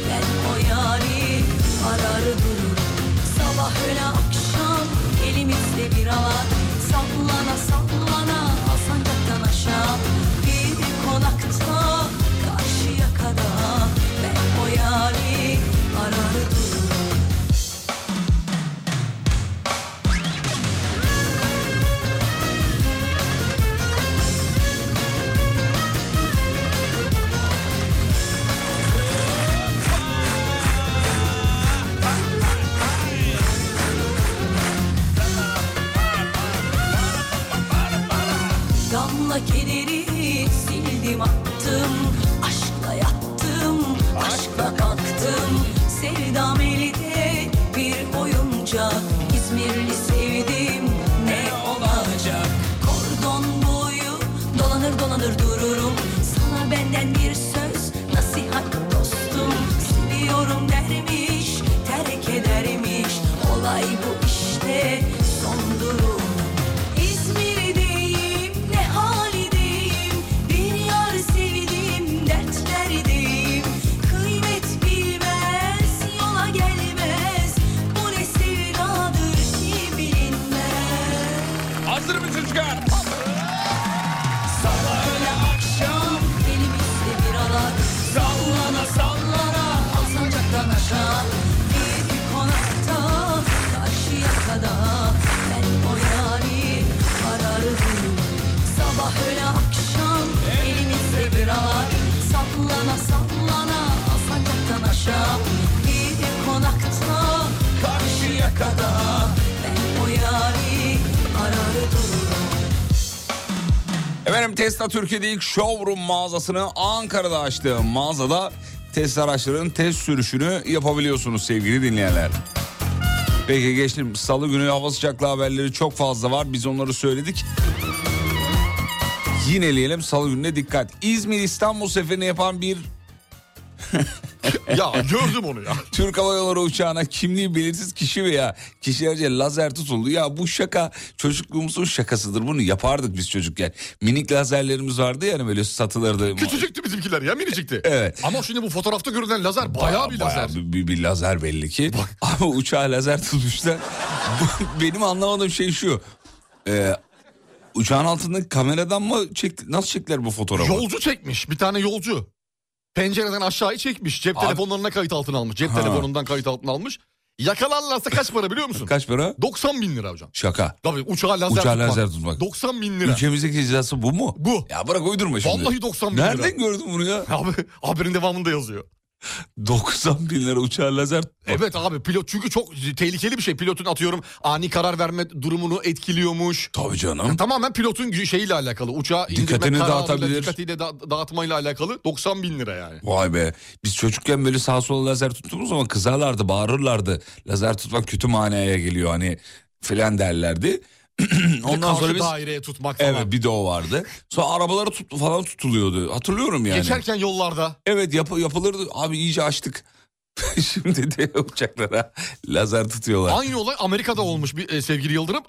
Ben o yari arar dururum Sabah öyle akşam elimizde bir avar Sallana sallana sancaktan aşağı Bir konakta karşıya kadar Ben o yari arar dururum Gamla kederi sildim attım Aşkla yattım, aşkla kalktım Sevdam elde bir oyuncak İzmirli sevdim ne olacak Kordon boyu dolanır dolanır dururum Sana benden bir söz nasihat dostum Seviyorum dermiş terk edermiş Olay bu işte son durum İzmir'deyim ne halideyim Bir yar sevdim dertlerdeyim Kıymet bilmez yola gelmez Bu ne sevdadır ki bilinmez Hazır mı çocuklar? Elimizde bir alak Sallana sallana Al sancaktan aşağı Bir konakta Karşıya kadar Ben o yari ararım Sabah öyle akşam Elimizde bir alak Sallana sallana Al sancaktan aşağı Bir konakta Karşıya kadar Ben o yari ararım Efendim Tesla Türkiye'de ilk showroom mağazasını Ankara'da açtı. Mağazada Tesla araçlarının test sürüşünü yapabiliyorsunuz sevgili dinleyenler. Peki geçtim. Salı günü hava sıcaklığı haberleri çok fazla var. Biz onları söyledik. Yineleyelim salı gününe dikkat. İzmir İstanbul seferini yapan bir ya gördüm onu ya. [laughs] Türk Hava Yolları uçağına kimliği belirsiz kişi veya kişilerce lazer tutuldu. Ya bu şaka çocukluğumuzun şakasıdır. Bunu yapardık biz çocukken. Minik lazerlerimiz vardı yani böyle satılırdı. Küçücüktü bizimkiler ya minicikti. Evet. Ama şimdi bu fotoğrafta görünen lazer bayağı bir lazer. bir, bir- bir lazer belli ki. Ama uçağa lazer tutmuşlar. [laughs] Bu- Benim anlamadığım şey şu. Ee, uçağın altındaki kameradan mı çek, nasıl çektiler bu fotoğrafı? Yolcu çekmiş bir tane yolcu. Pencereden aşağıyı çekmiş. Cep Abi- telefonlarına kayıt altına almış. Cep Ha. telefonundan kayıt altına almış. Yakalarlarsa kaç para biliyor musun? Kaç para? 90 bin lira hocam. Şaka. Tabii uçağa lazer Uçağa tutmak. lazer tutmak. 90 bin lira. Ülkemizdeki cezası bu mu? Bu. Ya bırak uydurma şimdi. Vallahi 90 bin lira. Nereden gördün bunu ya? [laughs] Abi haberin devamında yazıyor. 90 bin lira uçağa lazer. Evet abi pilot çünkü çok tehlikeli bir şey. Pilotun atıyorum ani karar verme durumunu etkiliyormuş. Tabii canım. Tamamen pilotun gü- şeyiyle alakalı. Uçağı indirme Dikkatini kararıyla, dağıtabilir. Dikkatiyle da- dağıtmayla alakalı 90 bin lira yani. Vay be. Biz çocukken böyle sağ sola lazer tuttuğumuz zaman kızarlardı, bağırırlardı. Lazer tutmak kötü manaya geliyor hani filan derlerdi. [clears throat] Ondan Karşı sonra biz daireye tutmak falan. Evet bir de o vardı. Sonra arabaları tut, falan tutuluyordu. Hatırlıyorum yani. Geçerken yollarda. Evet yapı, yapılırdı. Abi iyice açtık. [laughs] Şimdi de uçaklara lazer tutuyorlar. Aynı olay Amerika'da olmuş bir e, sevgili Yıldırım.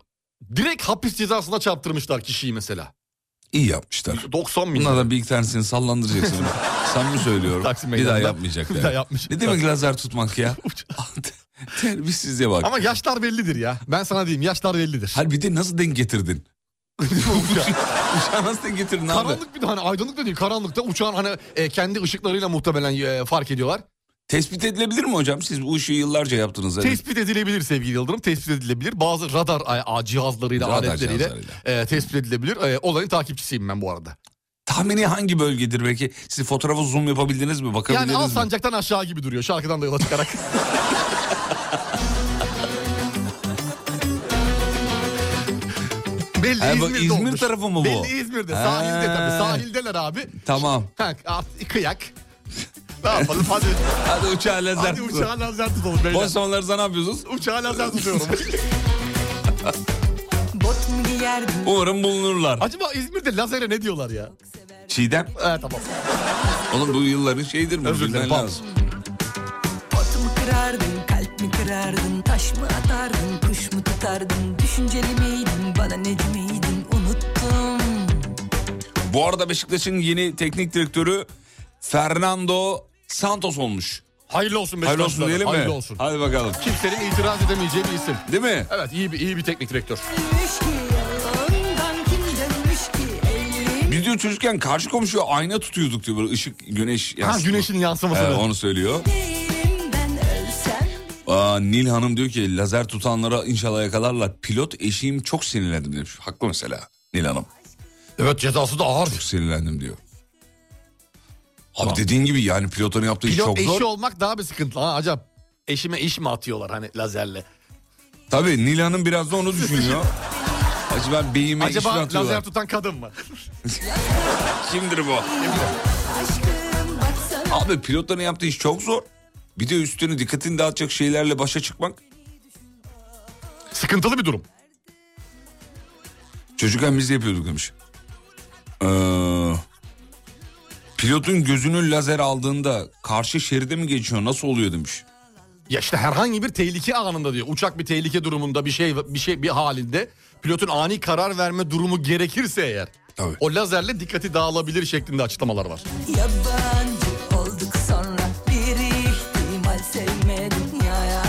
Direkt hapis cezasına çarptırmışlar kişiyi mesela. İyi yapmışlar. 90 bin. lira. Bunlardan bir iki tanesini [laughs] sallandıracaksın. Samimi söylüyorum. Taksim bir daha Meydanı'nda. yapmayacaklar. Bir daha yapmayacaklar. Ne demek lazer tutmak [laughs] ya? [laughs] Terbiyesizliğe bak. Ama yaşlar bellidir ya. Ben sana diyeyim yaşlar bellidir. Hal bir de nasıl denk [laughs] getirdin? Uçağı nasıl denk getirdin abi? Karanlık bir de hani aydınlık da değil karanlıkta uçağın hani e, kendi ışıklarıyla muhtemelen e, fark ediyorlar. Tespit edilebilir mi hocam? Siz bu işi yıllarca yaptınız. hani. Tespit edilebilir sevgili Yıldırım. Tespit edilebilir. Bazı radar a, a, cihazlarıyla, Radar aletleriyle cihazlarıyla. e, tespit edilebilir. E, olayın takipçisiyim ben bu arada. Tahmini hangi bölgedir belki? Siz fotoğrafı zoom yapabildiniz mi? Bakabildiniz Yani al mi? sancaktan aşağı gibi duruyor şarkıdan da [laughs] yola çıkarak. Belli Ha, bu İzmir'de İzmir olmuş. tarafı mı bu? Belli İzmir'de. Sahilde Ha. tabii. Sahildeler abi. Tamam. Ha, at- kıyak. ne yapalım hadi. [laughs] Hadi uçağa lazer hadi tutun. uçağa lazer tutalım beyler. Boş zamanlarınızda ne yapıyorsunuz? Uçağa [laughs] lazer tutuyorum. Bot mu giyerdin? Umarım bulunurlar. Acaba İzmir'de lazere ne diyorlar ya? Çiğdem. Evet tamam. Oğlum bu yılların şeyidir. bu, Özür dilerim, bilmen pardon. lazım. Pot mu kırardın, kalp mi kırardın, taş mı atardın, kuş mu tutardın, düşünceli miydin, bana ne demeydin, unuttum. Bu arada Beşiktaş'ın yeni teknik direktörü Fernando Santos olmuş. Hayırlı olsun Beşiktaş'lara. Hayırlı olsun diyelim mi? Hayırlı olsun. Hadi bakalım. Kimsenin itiraz edemeyeceği bir isim. Değil mi? Evet iyi bir iyi bir teknik direktör. Demiş ki yalandan kim demiş ki ellerin Biz diyor çocukken karşı komşuya ayna tutuyorduk diyor böyle ışık güneş Ha yansıtma. güneşin Ee, yansımasını. onu söylüyor. değilim ben ölsem Aa, Nil Hanım diyor ki lazer tutanlara inşallah yakalarlar. Pilot eşiğim çok sinirlendim demiş. Haklı mesela Nil Hanım. Evet cezası da ağır. Çok sinirlendim diyor. Abi dediğin gibi yani pilotların yaptığı iş Pilot çok eşi zor. olmak daha bir sıkıntı. Ha acaba eşime iş mi atıyorlar hani lazerle? Tabii Nil Hanım biraz da onu [laughs] düşünüyor. Acaba beyime iş mi acaba atıyorlar? lazer tutan kadın mı? Kimdir bu? aşkım baksana Abi pilotların yaptığı iş çok zor. Bir de üstüne dikkatini dağıtacak şeylerle başa çıkmak. Sıkıntılı bir durum. Çocukken biz de yapıyorduk demiş. Ee, pilotun gözünü lazer aldığında karşı şeride mi geçiyor nasıl oluyor demiş. Ya işte herhangi bir tehlike anında diyor. Uçak bir tehlike durumunda bir şey bir şey bir halinde pilotun ani karar verme durumu gerekirse eğer. Tabii. O lazerle dikkati dağılabilir şeklinde açıklamalar var. Yabancı olduk sonra bir ihtimal sevme dünyaya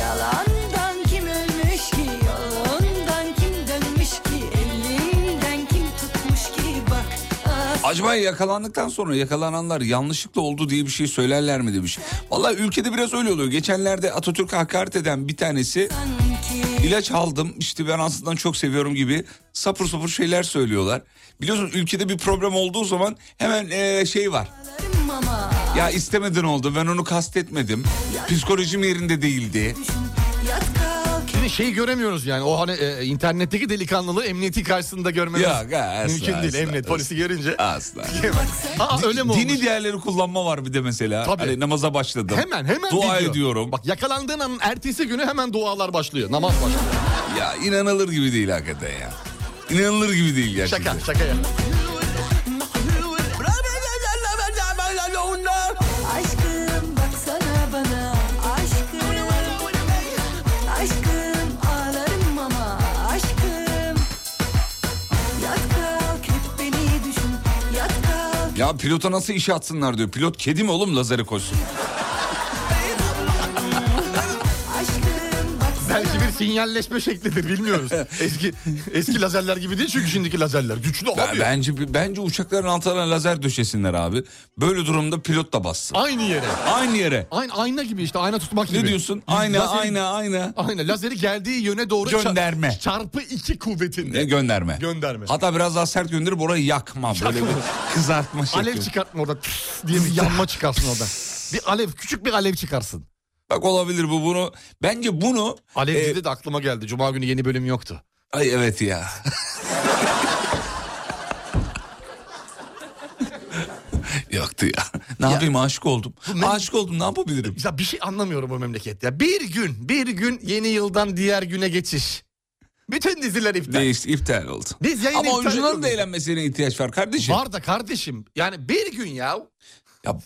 yalandan kim ölmüş ki yalandan kim dönmüş ki elinden kim tutmuş ki bak ah Acaba yakalandıktan sonra yakalananlar yanlışlıkla oldu diye bir şey söylerler mi demiş. Vallahi ülkede biraz öyle oluyor. Geçenlerde Atatürk'e hakaret eden bir tanesi sanki ilaç aldım işte ben aslında çok seviyorum gibi sapır sapır şeyler söylüyorlar. Biliyorsun ülkede bir problem olduğu zaman hemen eee, şey var. Yarım ama Ya istemeden oldu ben onu kastetmedim. Psikolojim yerinde değildi. yat kalk Şimdi şeyi göremiyoruz yani o hani e, internetteki delikanlılığı emniyeti karşısında görmemiz Yok, asla, mümkün değil. asla, Emniyet asla. polisi görünce. [laughs] Asla. Aa öyle mi olmuş? Dini değerleri kullanma var bir de mesela. Tabii. Hani namaza başladım. Hemen hemen Dua video. ediyorum. Bak yakalandığın anın ertesi günü hemen dualar başlıyor. Namaz başlıyor. Ya inanılır gibi değil hakikaten ya. İnanılır gibi değil gerçekten. Şaka şaka ya. Aşkım baksana bana aşkım Aşkım ağlarım ama aşkım Yat kalk hep beni düşün yat kalk Ya pilota nasıl işe atsınlar diyor. Pilot kedi mi oğlum lazeri koysun? aşkım baksana Belki bir sinyalleşme [laughs] şeklidir bilmiyoruz. Eski eski lazerler gibi değil çünkü şimdiki lazerler güçlü Ben- abi. bence bence uçakların altına lazer döşesinler abi. Böyle durumda pilot da bassın. Aynı yere. Aynı yere. Aynı ayna gibi işte ayna tutmak gibi. Ne diyorsun? Ayna Lazeri- ayna ayna. Ayna lazeri geldiği yöne doğru ça- Gönderme. çarpı iki kuvvetinde. Ne gönderme. Gönderme. Hatta biraz daha sert gönderip orayı yakma. Böyle Yakma. bir kızartma şekli. Alev çıkartma orada tıs diye bir yanma çıkarsın orada. Bir alev küçük bir alev çıkarsın. Bak olabilir bu bunu. Bence bunu e, Alevcide de aklıma geldi. Cuma günü yeni bölüm yoktu. Ay evet ya. [laughs] Yoktu ya. Ne yapayım aşık oldum. Aşık oldum ne yapabilirim? Ya bir şey anlamıyorum bu memlekette. ya. Bir gün, bir gün yeni yıldan diğer güne geçiş. Bütün diziler iptal. Değişti iptal oldu. Biz yayını Ama iptal oyuncuların ediyoruz. da eğlenmesine ihtiyaç var kardeşim. Var da kardeşim. Yani bir gün ya. Ya,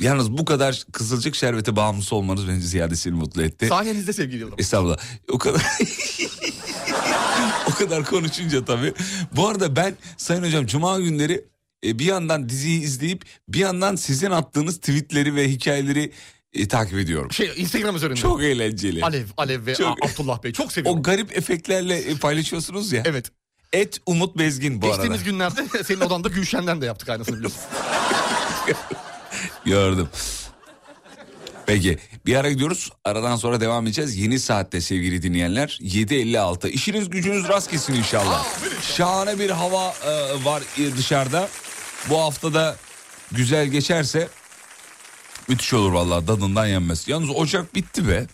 yalnız bu kadar kızılcık şerbete bağımlısı olmanız beni ziyadesini mutlu etti. Sayenizde sevgili Yıldırım. Estağfurullah. O kadar... [laughs] o kadar konuşunca tabii. Bu arada ben Sayın Hocam Cuma günleri e, bir yandan diziyi izleyip bir yandan sizin attığınız tweetleri ve hikayeleri e, takip ediyorum. Şey Instagram üzerinden. Çok eğlenceli. Alev, Alev ve Çok- A- Abdullah Bey. Çok seviyorum. O garip efektlerle e, paylaşıyorsunuz ya. Evet. Et Umut Bezgin bu Geçtiğimiz arada. günlerde [laughs] senin odanda Gülşen'den de yaptık aynısını biliyorsun. Gördüm. Peki bir ara gidiyoruz. Aradan sonra devam edeceğiz. Yeni saatte sevgili dinleyenler 7.56. İşiniz gücünüz rast gitsin inşallah. Şahane bir hava e, var e, dışarıda. Bu haftada güzel geçerse müthiş olur vallahi dadından yenmez. Yalnız Ocak bitti be.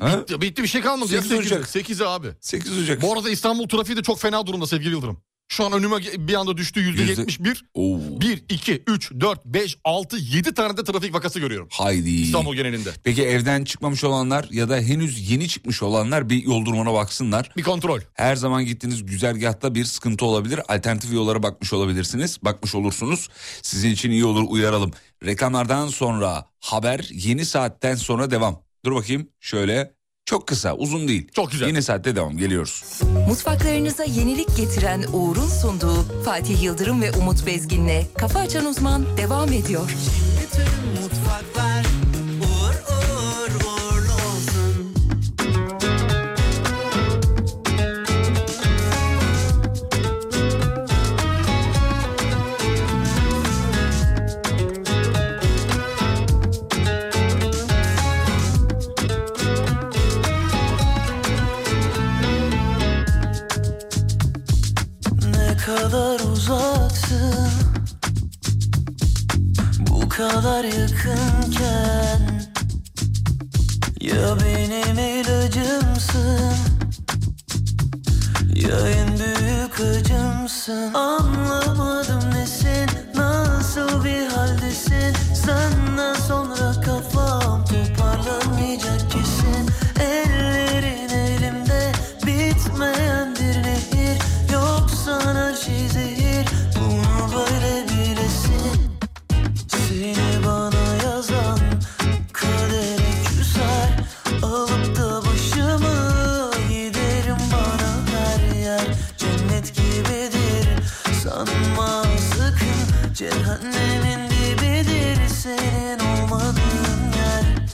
Ha? Ya bitti bir şey kalmadı. ya. Sekiz Ocak. 8'i abi. 8 Ocak. Bu arada İstanbul trafiği de çok fena durumda sevgili Yıldırım. Şu an önüme bir anda düştü Yüzde- %71. Oo. 1, 2, 3, 4, 5, 6, 7 tane de trafik vakası görüyorum. Haydi. İstanbul genelinde. Peki evden çıkmamış olanlar ya da henüz yeni çıkmış olanlar bir yol durumuna baksınlar. Bir kontrol. Her zaman gittiğiniz güzergahta bir sıkıntı olabilir. Alternatif yollara bakmış olabilirsiniz. Bakmış olursunuz. Sizin için iyi olur uyaralım. Reklamlardan sonra haber yeni saatten sonra devam. Dur bakayım şöyle Çok kısa, uzun değil. Çok güzel. Yine saatte devam geliyoruz. Mutfaklarınıza yenilik getiren Uğur'un sunduğu Fatih Yıldırım ve Umut Bezgin'le Kafa Açan Uzman devam ediyor. Ne kadar uzaksın Bu kadar yakınken Ya benim ilacımsın Ya en büyük acımsın Anlamadım nesin Nasıl bir haldesin Senden sonra kafam toparlanmayacak kesin Ellerin elimde Bitmeyen bir nehir Yoksan her şey zehir Bunu böyle bilesin seni bana yazan kadere küser Alıp da başımı giderim bana her yer Cennet gibidir sanma sakın Cehennemin dibidir senin olmadığın yer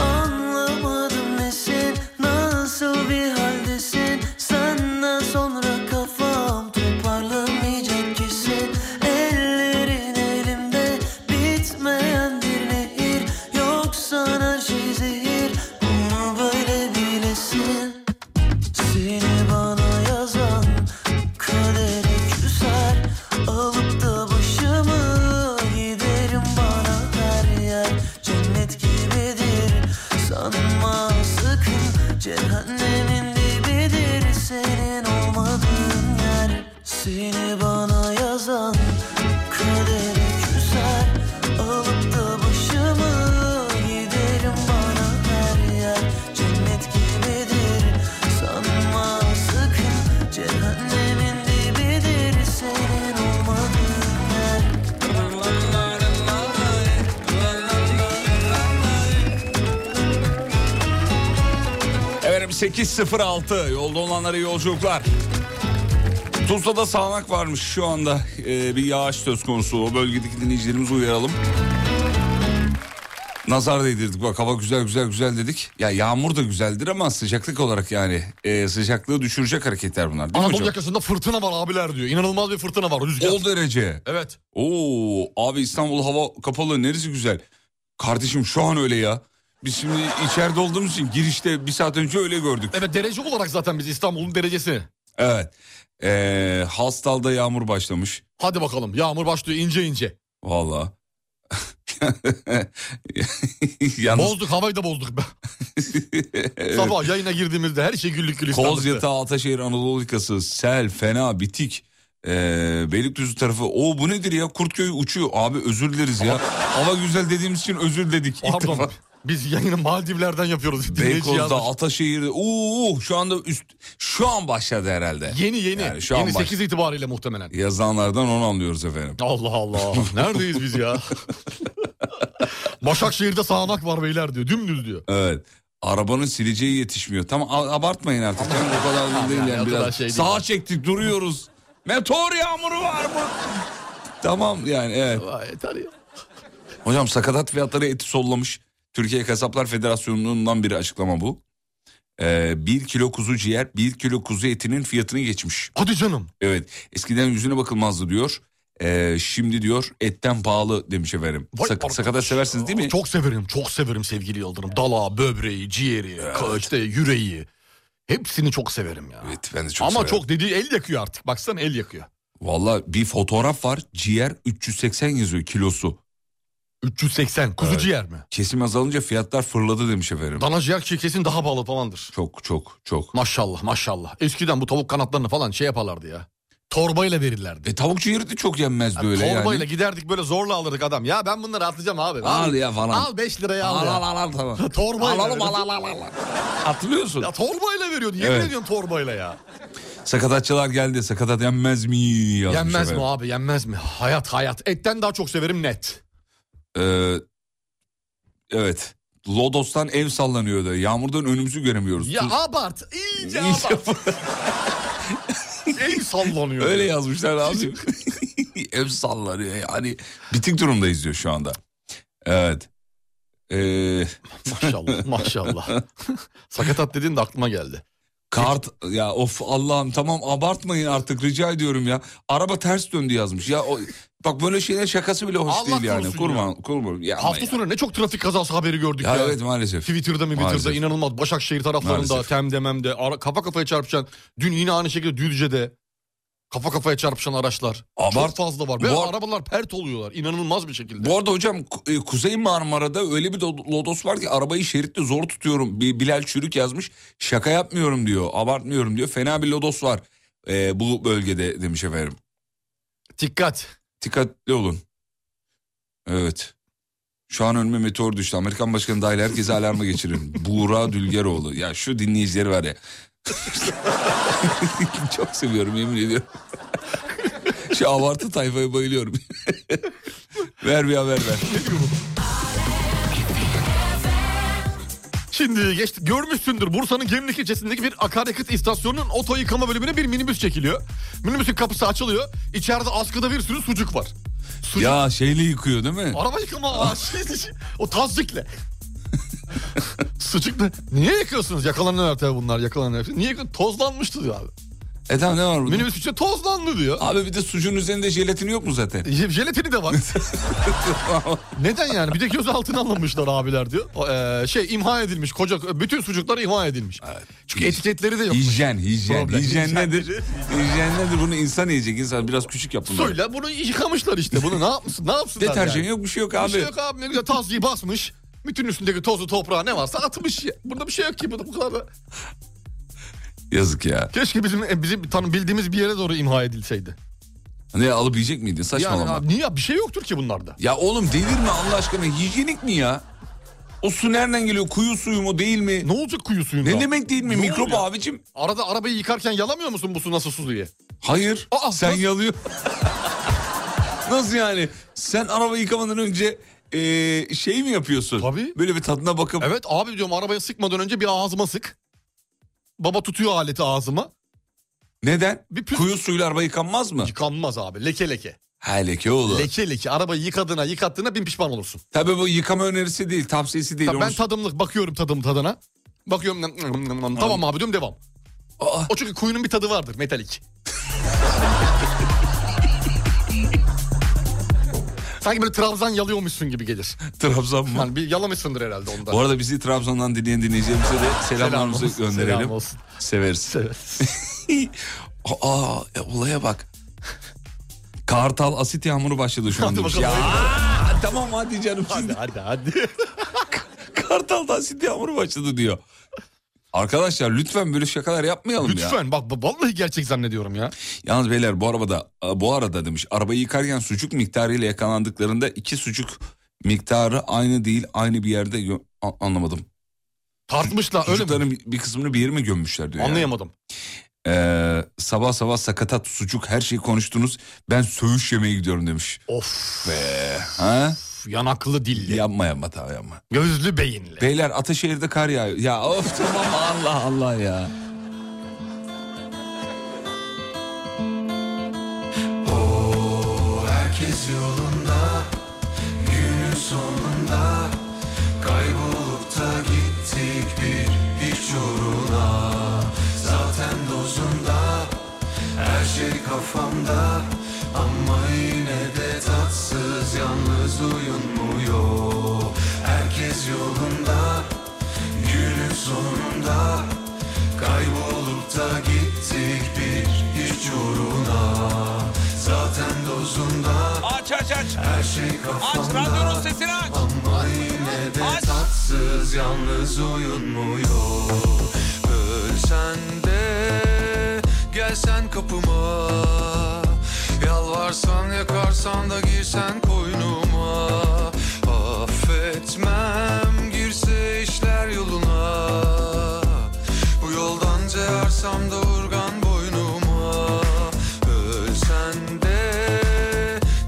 Anlamadım nesin Nasıl bir haldesin Senden sonra kafam Toparlamayacak kesin Ellerin elimde Bitmeyen bir nehir Yoksan her şey zehir Bunu böyle bilesin seni bana yazan kadere küser Alıp da başımı giderim bana her yer Cennet gibidir sanma sakın Cehennemin dibidir senin olmadığın yer Seni bana yazan kadere küser Alıp da başımı giderim bana her yer Cennet gibidir sanma sakın Cehennemin dibidir senin olmadığın yer Efendim 8.06 yolda olanlara iyi yolculuklar. Tuzla'da sağanak varmış şu anda Ee, bir yağış söz konusu. O bölgedeki dinleyicilerimizi uyaralım. Nazar değdirdik bak hava güzel güzel güzel dedik. Ya yağmur da güzeldir ama sıcaklık olarak yani e, sıcaklığı düşürecek hareketler bunlar değil mi Anadolu hocam? yakasında fırtına var abiler diyor. İnanılmaz bir fırtına var rüzgar. O derece. Evet. Oo abi İstanbul hava kapalı neresi güzel. Kardeşim şu an öyle ya. Biz şimdi içeride olduğumuz için girişte bir saat önce öyle gördük. Evet derece olarak zaten biz İstanbul'un derecesi. Evet. Ee, Hastal'da yağmur başlamış. Hadi bakalım yağmur başlıyor ince ince. [laughs] Valla. Yalnız Bozduk havayı da bozduk. be. Sabah yayına girdiğimizde her şey güllük gülistanlıktı. Kozyatağı, Ataşehir, Anadolu yakası, sel, fena, bitik. Ee, Beylikdüzü tarafı. O bu nedir ya? Kurtköy uçuyor. Abi özür dileriz ya. Hava güzel dediğimiz için özür dedik. İlk defa. Pardon. Biz yayını Maldivler'den yapıyoruz. Dinleyici Beykoz'da, yazmış. Ataşehir'de. Uuu şu anda üst şu an başladı herhalde. Yeni yeni. Yani şu an yeni baş- 8 itibariyle muhtemelen. Yazanlardan onu anlıyoruz efendim. Allah Allah. Ah, Neredeyiz biz ya? Başakşehir'de sağanak var beyler diyor. Dümdüz diyor. [laughs] Evet. Arabanın sileceği yetişmiyor. Tamam a- abartmayın artık. Canım, o kadar da değil Ah, yani, o yani. kadar Biraz şey değil. sağa çektik duruyoruz. Meteor yağmuru var mı? tamam yani evet. Vay, yeter ya. Hocam sakatat fiyatları eti sollamış. Türkiye Kasaplar Federasyonu'ndan bir açıklama bu. Ee, bir kilo kuzu ciğer, bir kilo kuzu etinin fiyatını geçmiş. Hadi canım. Evet eskiden yüzüne bakılmazdı diyor. Ee, şimdi diyor etten pahalı demiş efendim. Vay Sak- arkadaş. sakatat seversiniz değil mi? Çok severim. Çok severim sevgili Yıldırım. Dala, böbreği, ciğeri, ka- işte yüreği. Hepsini çok severim ya. Evet ben de çok Ama severim. çok dediği el yakıyor artık. Baksana el yakıyor. Valla bir fotoğraf var ciğer 380 yazıyor kilosu. 380 kuzu ciğer mi? Kesim azalınca fiyatlar fırladı demiş efendim. Dana ciğer ki kesin daha pahalı falandır. Çok çok çok. Maşallah maşallah. Eskiden bu tavuk kanatlarını falan şey yaparlardı ya. Torbayla verirlerdi. E tavuk ciğeri de çok yenmez böyle Torbayla yani. giderdik böyle zorla alırdık adam. Ya ben bunları atlayacağım abi. Al ya falan. Al 5 liraya al, Al ya. al al al tamam. [laughs] Torbayla Al oğlum, al al veriyorsun. al al. al. Hatırlıyorsun. Ya torbayla veriyordu. Yemin Evet. ediyorum torbayla ya. Sakatatçılar geldi. Sakatat yenmez mi? yazmış Yenmez mi efendim. abi yenmez mi? Hayat hayat. Etten daha çok severim net. Ee, evet. Lodos'tan ev sallanıyordu. Yağmurdan önümüzü göremiyoruz. Ya Tuz- abart. iyice İyice abart. [laughs] Ev sallanıyor. Öyle yazmışlar abi. [laughs] ev sallanıyor. Yani bitik durumdayız diyor şu anda. Evet. Ee, [laughs] Maşallah maşallah. Sakatat dediğin de aklıma geldi. kart ya of Allah'ım tamam abartmayın artık rica ediyorum ya. Araba ters döndü yazmış. Ya o, bak böyle şeyler şakası bile hoş Allah değil yani. korusun Kurma kurma. Ya, ama Hafta ya. sonu ne çok trafik kazası haberi gördük ya. Ya evet maalesef. Twitter'da mı Twitter'da Maalesef. inanılmaz Başakşehir taraflarında Maalesef. Temdemem'de ara, kafa kafaya çarpışan dün yine aynı şekilde Düzce'de kafa kafaya çarpışan araçlar. Abart- Çok fazla var ve Bu ar- arabalar pert oluyorlar inanılmaz bir şekilde. Bu arada hocam Ku- e, Kuzey Marmara'da öyle bir do- lodos var ki arabayı şeritte zor tutuyorum. Bir Bilal Çürük yazmış şaka yapmıyorum diyor abartmıyorum diyor. Fena bir lodos var e, bu bölgede demiş efendim. Dikkat. Dikkatli olun. Evet. Şu an önüme meteor düştü. Amerikan Başkanı dahil herkese alarma [laughs] geçirin. Buğra Dülgeroğlu. Ya şu dinleyicileri var ya. [laughs] Çok seviyorum yemin ediyorum. şu abartı tayfaya bayılıyorum. [laughs] ver bir haber ver. Şimdi geçti görmüşsündür Bursa'nın Gemlik ilçesindeki bir akaryakıt istasyonunun oto yıkama bölümüne bir minibüs çekiliyor. Minibüsün kapısı açılıyor. İçeride askıda bir sürü sucuk var. Sucuk Ya şeyle yıkıyor değil mi? Araba [laughs] yıkama aa, şey, şey, o tazikle. [laughs] Sucukla. Niye yakıyorsunuz? Yakalanan tabii bunlar yakalanan tabii. Niye yakıyorsunuz? Tozlanmıştı diyor abi. E tamam ne var burada? Minibüs içinde tozlandı diyor. Abi bir de sucuğun üzerinde jelatini yok mu zaten? Je- [laughs] Jelatini de var. Neden yani? Bir de gözaltına alınmışlar abiler diyor. O, eee, şey imha edilmiş. Koca bütün sucuklar imha edilmiş. Çünkü etiketleri de yok. Hijyen, hijyen. Problem. Hijyen Hijyen. nedir? hijyen nedir? Bunu insan yiyecek insan. Biraz küçük yapın. Suyla bunu yıkamışlar işte. Bunu ne yapmışsın? Ne yapsınlar Deterjan yani? yok bir şey yok Bir abi. şey yok abi ne güzel tazyiği basmış. Bütün üstündeki tozu toprağı ne varsa atmış. ya. Burada bir şey yok ki. Bu bu kadar da- Yazık ya. Keşke bizim e, bizim tanı bildiğimiz bir yere doğru imha edilseydi. Ne alıp yiyecek miydin? Saçmalama. Yani abi, niye ya? bir şey yoktur ki bunlarda. Ya oğlum delirme Allah aşkına. Hijyenik mi ya? O su nereden geliyor? Kuyu suyu mu değil mi? Ne olacak kuyu suyunda? Ne demek değil mi? Ne Mikrop oluyor? abicim. Arada arabayı yıkarken yalamıyor musun bu su nasıl su diye? Hayır. Aa, sen nasıl- yalıyor. [laughs] nasıl yani? Sen araba yıkamadan önce eee, şey mi yapıyorsun? Tabii. Böyle bir tadına bakıp Evet abi diyorum arabayı sıkmadan önce bir ağzıma sık. Baba tutuyor aleti ağzıma. Neden? Bir püf- Kuyu suyuyla araba yıkanmaz mı? Yıkanmaz abi leke leke. Ha leke olur. Leke leke arabayı yıkadığına yıkattığına bin pişman olursun. Tabii bu yıkama önerisi değil, tavsiyesi değil. Tabii ben Onu- tadımlık bakıyorum tadım tadına. Bakıyorum nam- nam- nam- nam- tamam abi diyorum devam. Aa, O çünkü kuyunun bir tadı vardır [laughs] metalik. Sanki böyle trabzan yalıyormuşsun gibi gelir. Trabzon mu? Yani bir yalamışsındır herhalde ondan. Bu arada bizi Trabzon'dan dinleyen dinleyicilerimize de selamlarımızı olsun, gönderelim. selam olsun. Severiz. Evet. [laughs] Aa, e, olaya bak. Kartal asit yağmuru başladı şu an Hadi demiş. Ya bakalım. tamam hadi canım. hadi [laughs] hadi hadi. Kartal'da asit yağmuru başladı diyor. Arkadaşlar lütfen böyle şakalar yapmayalım ya. Lütfen bak b- vallahi gerçek zannediyorum ya. Yalnız beyler bu arabada bu arada demiş arabayı yıkarken sucuk miktarı ile yakalandıklarında iki sucuk miktarı aynı değil aynı bir yerde gö- A- anlamadım. Tartmışlar öyle mi? Sucukların bir- bir kısmını bir yere mi gömmüşler diyor. yani. Anlayamadım. Ee, sabah sabah sakatat sucuk her şeyi konuştunuz ben söğüş yemeye gidiyorum demiş. Of Ha? yanaklı dilli. Yapma yapma tamam yapma. Gözlü beyinli. Beyler Ataşehir'de kar yağıyor. Ya of tamam Allah Allah ya. Herkes yolunda Günün sonunda Kaybolup da gittik bir hiç uğruna Zaten dozunda Her şey kafamda Ama yine de tatsız Yalnız uyunmuyor Herkes yolunda Günün sonunda Kaybolup da gittik bir hiç uğruna Zaten dozunda Aç aç aç. her şey Aç kafamda radyonun sesini aç. Ama yine de Aç. tatsız yalnız uyunmuyor Ölsen de gelsen kapıma Sararsan yakarsan da girsen koynuma Affetmem girse işler yoluna Bu yoldan ceyarsam da urgan boynuma Ölsen de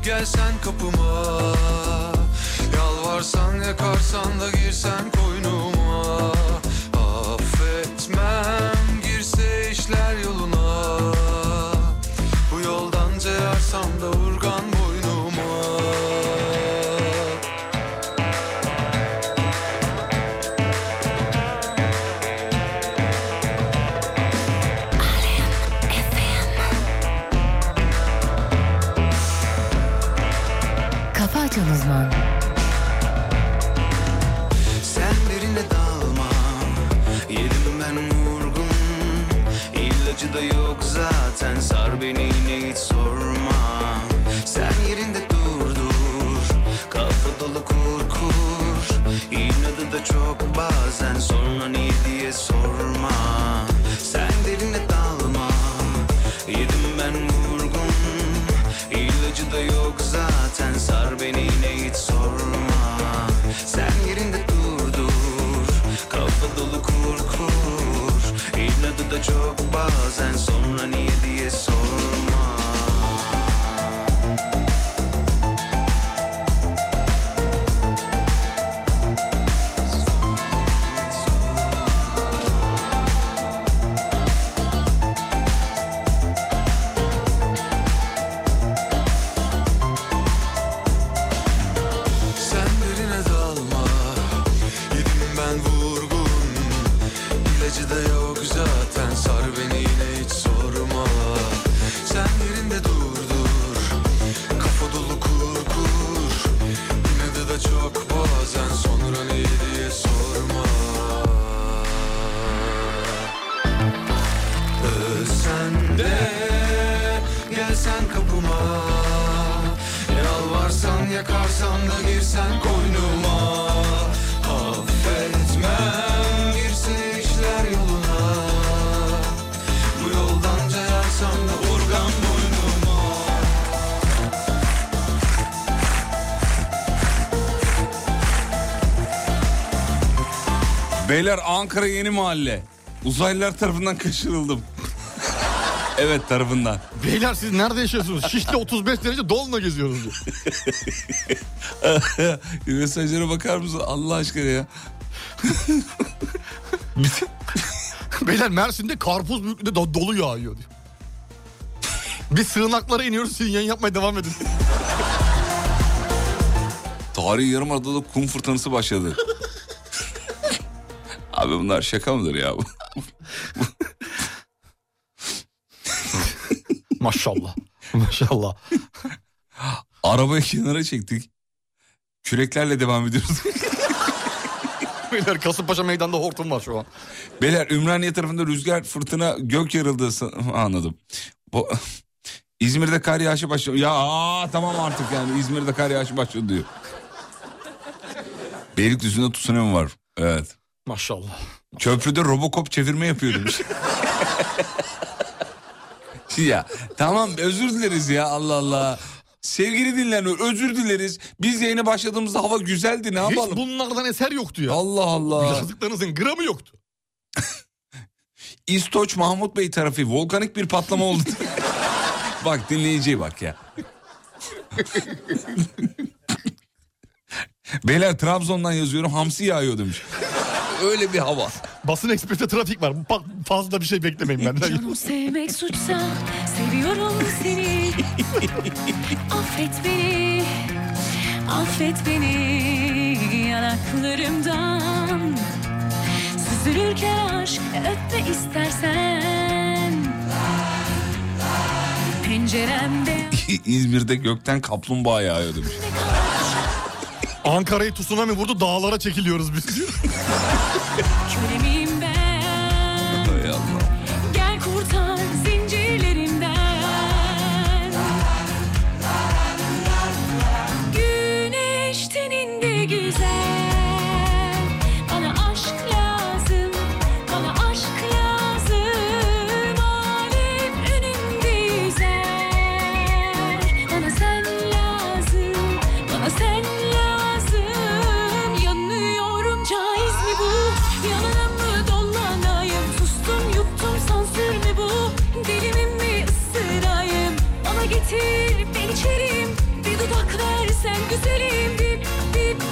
gelsen kapıma Yalvarsan yakarsan da girsen koynuma Affetmem girse işler yoluna Bu yoldan ceyarsam da urgan boynuma Kafa Açan Uzman Sen birine dalma Yedim ben vurgun İlacı da yok zaten Sar beni yine hiç sorma Sen yerinde dur dur Kafa dolu kur kur İnadı da çok bazen Sonra niye diye sorma Sen derine dalma Yedim ben vurgun İlacı da yok zaten Sar beni yine hiç sorma Sen yerinde dur dur Kafa dolu kur kur İnadı da çok bazen Sonra niye diye sorma Sen derine dalma Yedim ben vurgun İlacı da yok zaten Sar beni yine hiç sorma Sen yerinde dur dur Kafa dolu kur kur İnadı da çok bazen Sonra ne diye sorma Ölsen de Gelsen kapıma Yalvarsan yakarsan da girsen koynuma Affetmem girse işler yoluna Bu yoldan cayarsam da urgan boynuma Beyler Ankara Yeni Mahalle. Uzaylılar tarafından kaçırıldım. [laughs] evet tarafından. Beyler siz nerede yaşıyorsunuz? Şişli 35 derece dolunla [laughs] geziyoruz. diyor. Mesajlara bakar mısın Allah aşkına ya. [laughs] Beyler Mersin'de karpuz büyüklüğünde do- dolu yağıyor diyor. Biz sığınaklara iniyoruz siz yayın yapmaya devam edin. Tarihi yarımadada kum fırtınası [laughs] başladı. Abi bunlar şaka mıdır ya? [laughs] Maşallah. Maşallah. Arabayı kenara çektik. Küreklerle devam ediyoruz. [laughs] Beyler Kasımpaşa meydanda hortum var şu an. Beyler Ümraniye tarafında rüzgar fırtına gök yarıldı san- anladım. Bu... [laughs] İzmir'de kar yağışı başladı. Ya aa, tamam artık yani İzmir'de kar yağışı başladı diyor. Beylikdüzü'nde tsunami var. Evet. Maşallah. Köprüde Robocop çevirme yapıyor demiş. [laughs] ya tamam özür dileriz ya Allah Allah. Sevgili dinleyenler özür dileriz. Biz yayına başladığımızda hava güzeldi ne Hiç yapalım? bunlardan eser yoktu ya. Allah Allah. Yazdıklarınızın gramı yoktu. [laughs] İstoç Mahmut Bey tarafı volkanik bir patlama oldu. [laughs] bak dinleyiciye bak ya. Beyler Trabzon'dan yazıyorum hamsi yağıyor demiş. Öyle bir hava. Basın Ekspres'te trafik var. Bak fazla bir şey beklemeyin benden. Canım sevmek suçsa seviyorum [laughs] seni Affet beni, affet beni yanaklarımdan Süzülürken aşk öpme istersen Penceremde İzmir'de gökten kaplumbağa yağıyor demiş. Ankara'yı tsunami vurdu dağlara çekiliyoruz biz diyor. kölemiyim ben Hay Allah. Gel kurtar zincirlerimden Güneş teninde güzel Bana aşk lazım, bana aşk lazım Alem önümde yüzer Bana getir ben içerim Bir dudak versen güzelim Dip dip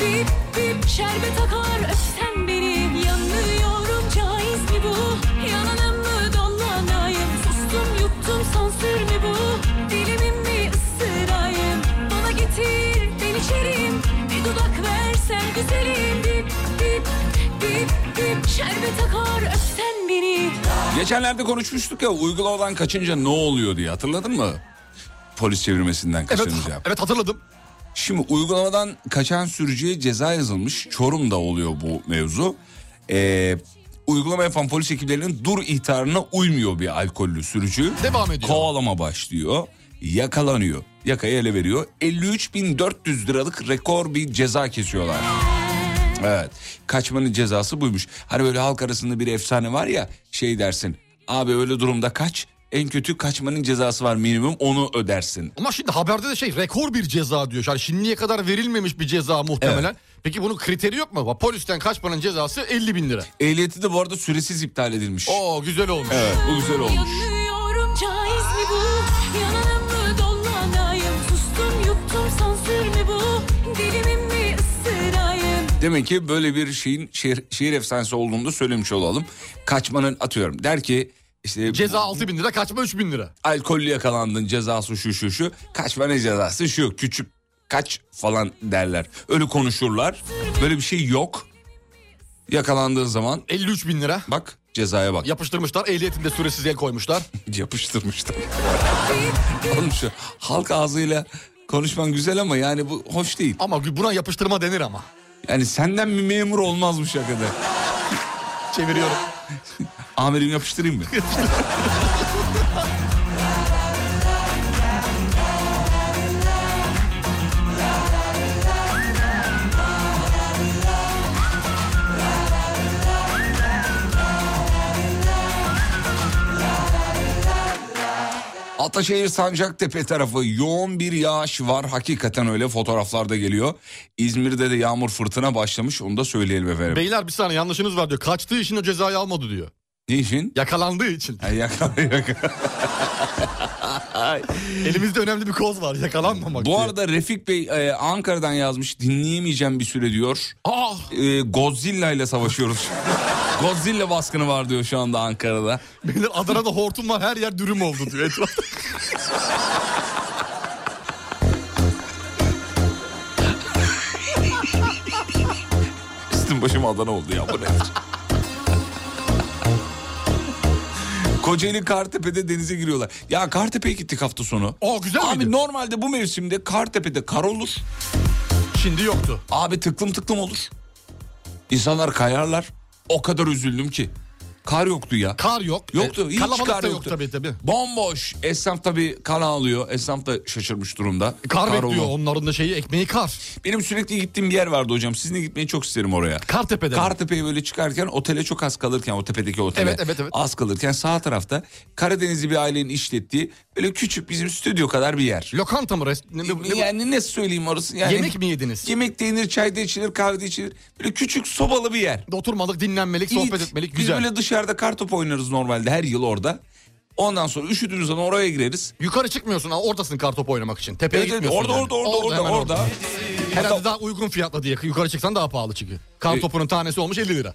dip dip Şerbet akar öpsen beni Yanıyorum caiz mi bu Yananım mı dolanayım Sustum yuttum sansür mü bu Dilimin mi ısırayım Bana getir ben içerim Bir dudak versen güzelim Dip dip dip dip Şerbet akar öpsen beni Geçenlerde konuşmuştuk ya uygulamadan kaçınca ne oluyor diye hatırladın mı? Polis çevirmesinden kaçınca. Evet, hatırladım. Şimdi uygulamadan kaçan sürücüye ceza yazılmış. Çorum'da oluyor bu mevzu. Ee, uygulama yapan polis ekiplerinin dur ihtarına uymuyor bir alkollü sürücü. Devam ediyor. Kovalama başlıyor. Yakalanıyor. Yakayı ele veriyor. 53.400 liralık rekor bir ceza kesiyorlar. Evet. Kaçmanın cezası buymuş. Hani böyle halk arasında bir efsane var ya şey dersin. Abi öyle durumda kaç. En kötü kaçmanın cezası var minimum onu ödersin. Ama şimdi haberde de şey rekor bir ceza diyor. Yani şimdiye kadar verilmemiş bir ceza muhtemelen. Peki bunun kriteri yok mu? Polisten kaçmanın cezası 50 bin lira. Ehliyeti de bu arada süresiz iptal edilmiş. Oo güzel olmuş. Evet bu güzel olmuş. Yanıyorum caiz mi bu? Yananım mı dolanayım? Sustum yuttum sansür mü bu? Dilimin mi ısırayım? Demek ki böyle bir şeyin şehir, şehir efsanesi olduğunu da söylemiş olalım. Kaçmanın atıyorum der ki işte Ceza 6 bin lira kaçma 3 bin lira. alkollü yakalandın cezası şu şu şu. Kaçma ne cezası şu küçük kaç falan derler. Öyle konuşurlar. Böyle bir şey yok. Yakalandığın zaman 53 bin lira. Bak cezaya bak. Yapıştırmışlar ehliyetinde süresiz el koymuşlar. [laughs] Yapıştırmışlar. Oğlum şu halk ağzıyla konuşman güzel ama yani bu hoş değil. Ama buna yapıştırma denir ama. Yani senden bir memur olmaz bu şakada. Çeviriyorum. Amirim [laughs] yapıştırayım mı? Ataşehir Sancaktepe tarafı yoğun bir yağış var. Hakikaten öyle fotoğraflarda geliyor. İzmir'de de yağmur fırtına başlamış. Onu da söyleyelim efendim. [laughs] Beyler bir saniye yanlışınız var diyor. Kaçtığı için o cezayı almadı diyor. Ne işin? Yakalandığı için. Ha, [laughs] yakala, [laughs] yakala. Elimizde önemli bir koz var yakalanmamak Bu diye. arada Refik Bey e, Ankara'dan yazmış dinleyemeyeceğim bir süre diyor. Aa! E, Godzilla ile savaşıyoruz. [laughs] Godzilla baskını var diyor şu anda Ankara'da. Beyler Adana'da hortum var her yer dürüm oldu diyor etrafta. [laughs] Üstüm başım Adana oldu ya bu nedir? Kocaeli Kartepe'de denize giriyorlar. Ya Kartepe'ye gittik hafta sonu. Aa güzel Abi miydi? normalde bu mevsimde Kartepe'de kar olur. Şimdi yoktu. Abi tıklım tıklım olur. İnsanlar kayarlar. O kadar üzüldüm ki. Kar yoktu ya. Kar yok. Yoktu. E, hiç kalabalık kar da yoktu. yok tabii tabii. Bomboş. Esnaf tabii kan ağlıyor. Esnaf da şaşırmış durumda. Kar, bekliyor olur. onların da şeyi ekmeği kar. Benim sürekli gittiğim bir yer vardı hocam. Sizinle gitmeyi çok isterim oraya. Kartepe'de. mi? Kartepe'ye böyle çıkarken otele çok az kalırken o tepedeki otele Evet, evet, evet. az kalırken sağ tarafta Karadenizli bir ailenin işlettiği böyle küçük bizim stüdyo kadar bir yer. Lokanta mı? Rest... ne- ne- ne- Yani E, ne söyleyeyim orası? Yani Yemek mi yediniz? Yemek de yenir, çay da içilir, kahve de içilir. Böyle küçük sobalı bir yer. Oturmalık, dinlenmelik, sohbet İyi. etmelik Biz güzel. böyle dışarıda kartop oynarız normalde her yıl orada. Ondan sonra üşüdüğümüz zaman oraya gireriz. Yukarı çıkmıyorsun ha oradasın kartopu oynamak için. Tepeye Evet, evet, gitmiyorsun. orada, yani. orada, orada, orada, hemen orada. E, Herhalde daha uygun fiyatla diye yukarı çıksan daha pahalı çünkü. Kartopunun topunun tanesi olmuş 50 lira.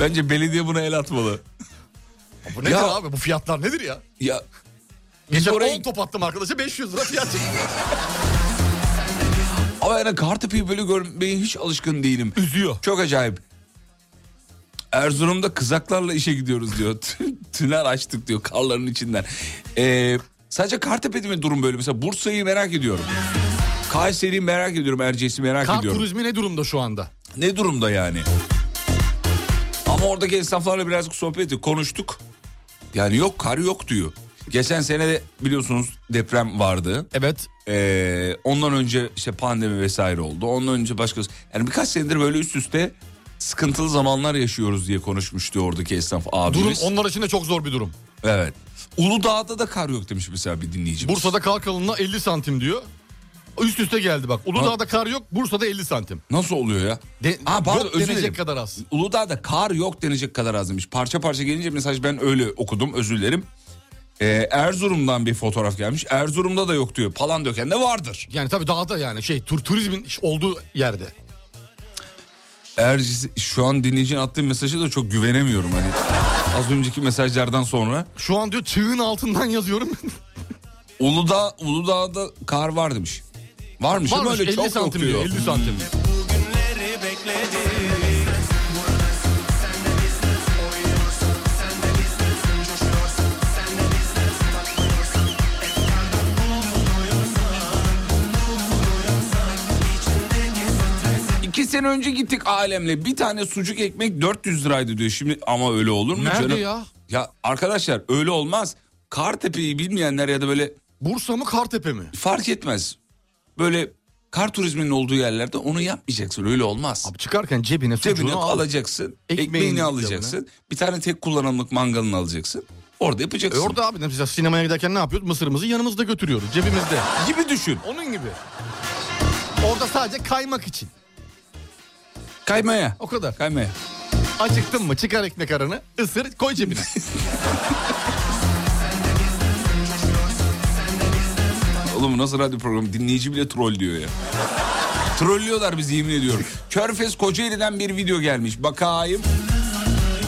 Bence belediye buna el atmalı. Bu nedir Ya- abi bu fiyatlar nedir ya? Ya Geçen oraya- 10 top attım arkadaşa 500 lira fiyat çıktı. [laughs] ama yani kartopu böyle görmeye hiç alışkın değilim. Üzüyor. Çok acayip. Erzurum'da kızaklarla işe gidiyoruz diyor. [laughs] Tü- Tünel açtık diyor karların içinden. Ee, sadece Kartepe'de mi durum böyle? Mesela Bursa'yı merak ediyorum. Kayseri'yi merak ediyorum. Erciyes'i merak Kar ediyorum. turizmi ne durumda şu anda? Ne durumda yani? Ama oradaki esnaflarla birazcık sohbet ettik, konuştuk. Yani yok kar yok diyor. Geçen sene de biliyorsunuz deprem vardı. Evet. Ee, ondan önce işte pandemi vesaire oldu. Ondan önce başka... Yani birkaç senedir böyle üst üste sıkıntılı zamanlar yaşıyoruz diye konuşmuştu oradaki esnaf Durum abimiz. onlar için de çok zor bir durum. Evet. Uludağ'da da kar yok demiş mesela bir dinleyicimiz. Bursa'da kar kalınlığı 50 santim diyor. üst üste geldi bak. Uludağ'da kar yok, Bursa'da 50 santim. Nasıl oluyor ya? De- Ha, pardon, yok özür denecek dilerim. kadar az. Uludağ'da kar yok denecek kadar azmış. Parça parça gelince mesaj ben öyle okudum özür dilerim. Ee, Erzurum'dan bir fotoğraf gelmiş. Erzurum'da da yok diyor. Palandöken'de vardır. Yani tabii dağda yani şey tur, turizmin olduğu yerde. Ercisi, şu an dinleyicinin attığı mesajı da çok güvenemiyorum hani. Az önceki mesajlardan sonra. Şu an diyor tığın altından yazıyorum. [laughs] Uludağ, Uludağ'da kar var demiş. Varmış, ama Varmış, öyle 50 çok santim yok diyor, diyor. 50 santim. İki sene önce gittik ailemle. Bir tane sucuk ekmek 400 liraydı diyor. Şimdi ama öyle olur mu Nerede canım? ya? Ya arkadaşlar öyle olmaz. Kartepe'yi bilmeyenler ya da böyle... Bursa mı Kartepe mi? Fark etmez. Böyle kar turizminin olduğu yerlerde onu yapmayacaksın. Öyle olmaz. Abi çıkarken cebine sucuğunu al. alacaksın. Ekmeğini Ekmeğini, alacaksın. cebine. Bir tane tek kullanımlık mangalını alacaksın. Orada E yapacaksın. orada abi mesela sinemaya giderken ne yapıyoruz? Mısırımızı yanımızda götürüyoruz cebimizde. Gibi düşün. Onun gibi. Orada sadece kaymak için. Kaymaya. O kadar. Kaymaya. Acıktın mı çıkar ekmek aranı ısır koy cebine. Oğlum nasıl radyo programı dinleyici bile troll diyor ya. Trollüyorlar bizi yemin ediyorum. Körfez Kocaeli'den bir video gelmiş. Bakayım.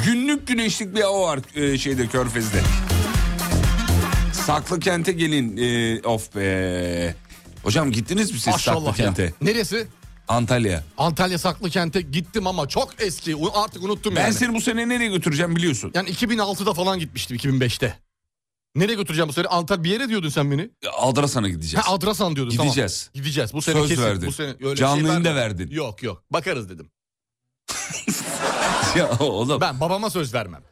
Günlük güneşlik bir hava var e, şeyde Körfez'de. Saklı kente gelin. E, of be. Hocam gittiniz mi siz Saklı Maşallah ya. kente? Neresi? Antalya. Antalya Saklıkent'e gittim ama çok eski. U- Artık unuttum Ben yani. seni bu sene nereye götüreceğim biliyorsun. Yani 2006'da falan gitmiştim 2005'te. Nereye götüreceğim bu sene? Antalya bir yere diyordun sen beni. Adrasan'a gideceğiz. Ha Adrasan diyordun tamam. Gideceğiz. Gideceğiz. Bu sene Söz kesin. verdin. Bu sene öyle Canlıyı verme. da verdin. Yok yok. Bakarız dedim. [laughs] ya oğlum. Ben babama söz vermem.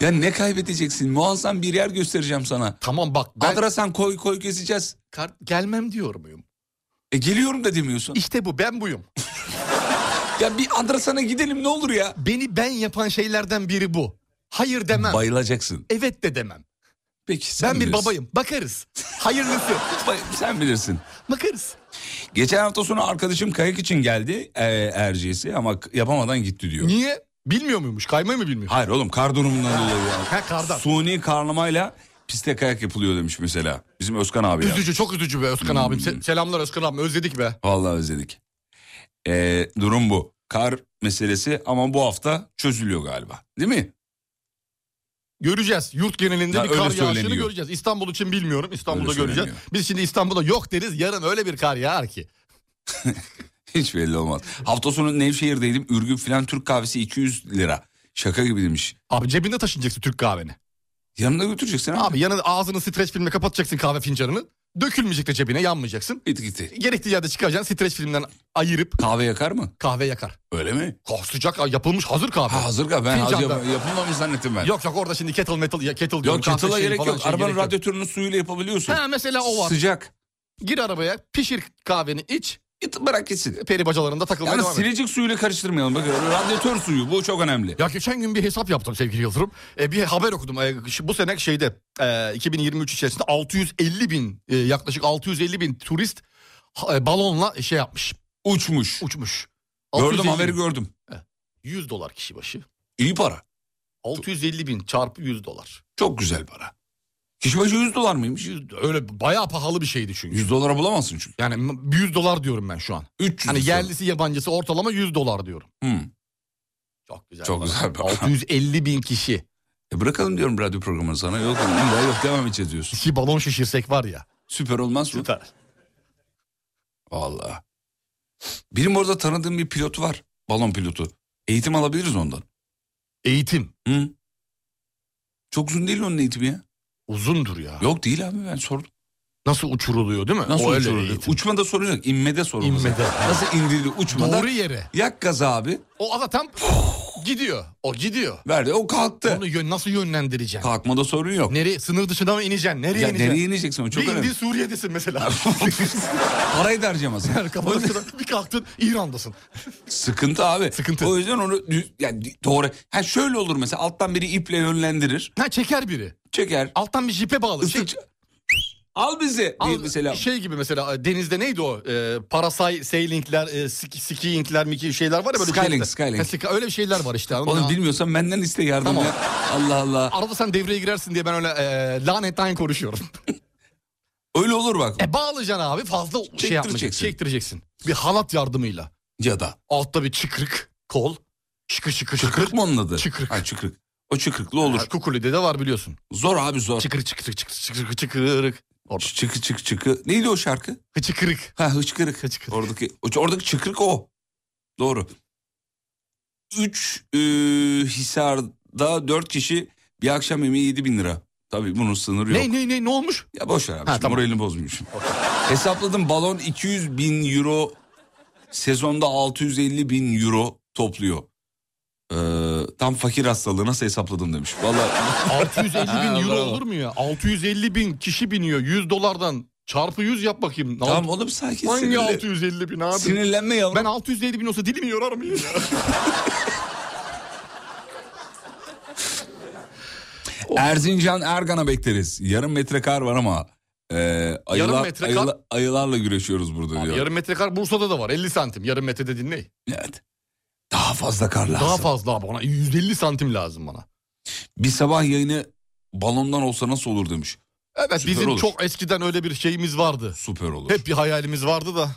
Ya ne kaybedeceksin? Muazzam bir yer göstereceğim sana. Tamam bak. Adrasan koy koy gezeceğiz. Kar- gelmem diyor muyum? E geliyorum da demiyorsun. İşte bu ben buyum. ya bir Adrasan'a gidelim ne olur ya. Beni ben yapan şeylerden biri bu. Hayır demem. Bayılacaksın. evet de demem. Peki sen ben bir bilirsin. babayım. Bakarız. Hayırlısı. Bay- Sen bilirsin. Bakarız. Geçen hafta sonu arkadaşım kayak için geldi e, Erciyes'e ama k- yapamadan gitti diyor. Niye? Bilmiyor muymuş? Kaymayı mı bilmiyor? Hayır oğlum kar durumundan dolayı ya. Ha kardan. Suni karlamayla piste kayak yapılıyor demiş mesela. Bizim Özkan [laughs] abi ya. Hmm. Üzücü çok üzücü be Özkan abim. Se- selamlar Özkan abim özledik be. Vallahi özledik. E, durum bu. Kar meselesi ama bu hafta çözülüyor galiba. Değil mi? Göreceğiz. Yurt genelinde Ya bir öyle kar yağışını söyleniyor. göreceğiz. İstanbul için bilmiyorum. İstanbul'da Öyle göreceğiz. söyleniyor. Biz şimdi İstanbul'da yok deriz. Yarın öyle bir kar yağar ki. [laughs] Hiç belli olmaz. Hafta sonu Nevşehir'deydim. Ürgüp filan Türk kahvesi 200 lira. Şaka gibi demiş. Abi cebinde [laughs] taşınacaksın Türk kahveni. Yanına götüreceksin abi. Abi yanına ağzını streç filmle kapatacaksın kahve fincanını. Dökülmeyecek de cebine yanmayacaksın. Git gitti. Gerektiği yerde çıkaracaksın streç filmden ayırıp Kahve yakar mı? kahve yakar. Öyle mi? Oh, sıcak yapılmış hazır kahve. Ha, hazır kahve. Ben Fincanda. yap- yapılmamış zannettim ben. Yok yok orada şimdi kettle metal ya kettle diyorum. Yok kettle'a kahve şeyi gerek falan yok. şey Arabanın gerek yok. radyatörünün suyuyla yapabiliyorsun. Ha mesela o var. Sıcak. Gir arabaya pişir kahveni iç. Git bırak gitsin. Peri bacalarında takılmaya Yani devam et. silecek suyuyla karıştırmayalım. Bakın radyatör suyu bu çok önemli. Ya geçen gün bir hesap yaptım sevgili Yıldırım. E, bir haber okudum. E, şu- bu sene şeyde e, 2023 içerisinde 650 bin e, yaklaşık 650 bin turist ha- e, balonla şey yapmış Uçmuş. uçmuş. Gördüm 650 haberi gördüm. 100 dolar kişi başı. İyi para. 650 bin çarpı 100 dolar. Çok güzel para. Kişi başı 100 dolar mıymış? 100 öyle bayağı pahalı bir şeydi çünkü. 100 dolara bulamazsın çünkü. Yani m- 100 dolar diyorum ben şu an. 300. Hani Hani yerlisi yabancısı ortalama 100 dolar diyorum. Hı. Çok güzel. Hmm. Çok para. güzel para. 650 bin kişi. E bırakalım diyorum radyo programını sana. Yok illa yok devam edeceğiz diyorsun. Ki balon şişirsek var ya. Süper olmaz mı? Süper. Valla. Benim orada tanıdığım bir pilot var. Balon pilotu. Eğitim alabiliriz ondan. Eğitim Hı. Çok uzun değil onun eğitimi ya. uzundur ya. Yok değil abi ben sordum. Nasıl uçuruluyor değil mi? Nasıl O öyle uçuruluyor? eğitim. Uçmada sorun yok. inmede sorun. var. İnmede. Nasıl indirdi uçmada? Doğru yere. Yak gaz abi. O ada tam gidiyor. O gidiyor. Verdi. O kalktı. Onu yön, nasıl yönlendireceksin? Kalkmada sorun yok. Nereye? Sınır dışına mı ineceksin? Nereye ya ineceksin? nereye ineceksin o çok bir önemli. indin [laughs] Suriye'desin mesela. Parayı da harcamasın. Yani kafana sıra- bir kalktın İran'dasın. Sıkıntı abi. Sıkıntı. O yüzden onu düz- yani doğru. Ha şöyle olur mesela alttan biri iple yönlendirir. Ha çeker biri. Çeker. Alttan bir jipe bağlı. Şey, Islık- Al bizi. Al, Şey gibi mesela e, denizde neydi o? E, parasay, sailingler, e, ski- skiingler, miki şeyler var ya böyle. Skyling, şeyler. skyling. Ha, sky- öyle bir şeyler var işte. anladın Oğlum mı? bilmiyorsan benden iste yardım Tamam. ya. Allah Allah. [laughs] Arada sen devreye girersin diye ben öyle e, lanetten konuşuyorum. [laughs] Öyle olur bak. E bağlayacaksın abi fazla şey yapmayacaksın. Çektireceksin. Bir halat yardımıyla. Ya da. Altta bir çıkrık, kol. Şıkır şıkır şıkır. Çıkrık mı onun adı? Çıkrık. Ha çıkrık. O çıkrıklı olur. Kukuli'de de var biliyorsun. Zor abi zor. Çıkır çıkır çıkır çıkır çıkırık. Çıkı çıkı çıkı. Neydi o şarkı? Hıçıkırık. Ha hıçkırık. Oradaki, oradaki çıkırık o. Doğru. Üç e, Hisar'da dört kişi bir akşam yemeği yedi bin lira. Tabii bunun sınırı yok. Ne ne ne ne olmuş? Ya boş ver abi. Ha, şimdi tamam. Moralini bozmuyorsun. Hesapladım balon 200 bin euro sezonda 650 bin euro topluyor. Ee, tam fakir hastalığı nasıl hesapladım demiş. Vallahi [laughs] 650 bin euro Bravo. olur mu ya? 650 bin kişi biniyor 100 dolardan. Çarpı 100 yap bakayım. Ne Tamam oldu? oğlum sakin Hangi sinirlen- 650 bin abi? Sinirlenme yavrum. Ben 650 bin olsa dilimi [laughs] yorar mıyım ya? Erzincan Ergan'a bekleriz. Yarım metre kar var ama e, ayılar, metre kar- ayıla- ayılarla güreşiyoruz burada diyor. yarım metrekare Bursa'da da var 50 santim. Yarım metrede dinley. Evet. Daha fazla kar lazım. Daha fazla abi ona 150 santim lazım bana. Bir sabah yayını balondan olsa nasıl olur demiş. Evet Süper bizim olur. çok eskiden öyle bir şeyimiz vardı. Süper olur. Hep bir hayalimiz vardı da.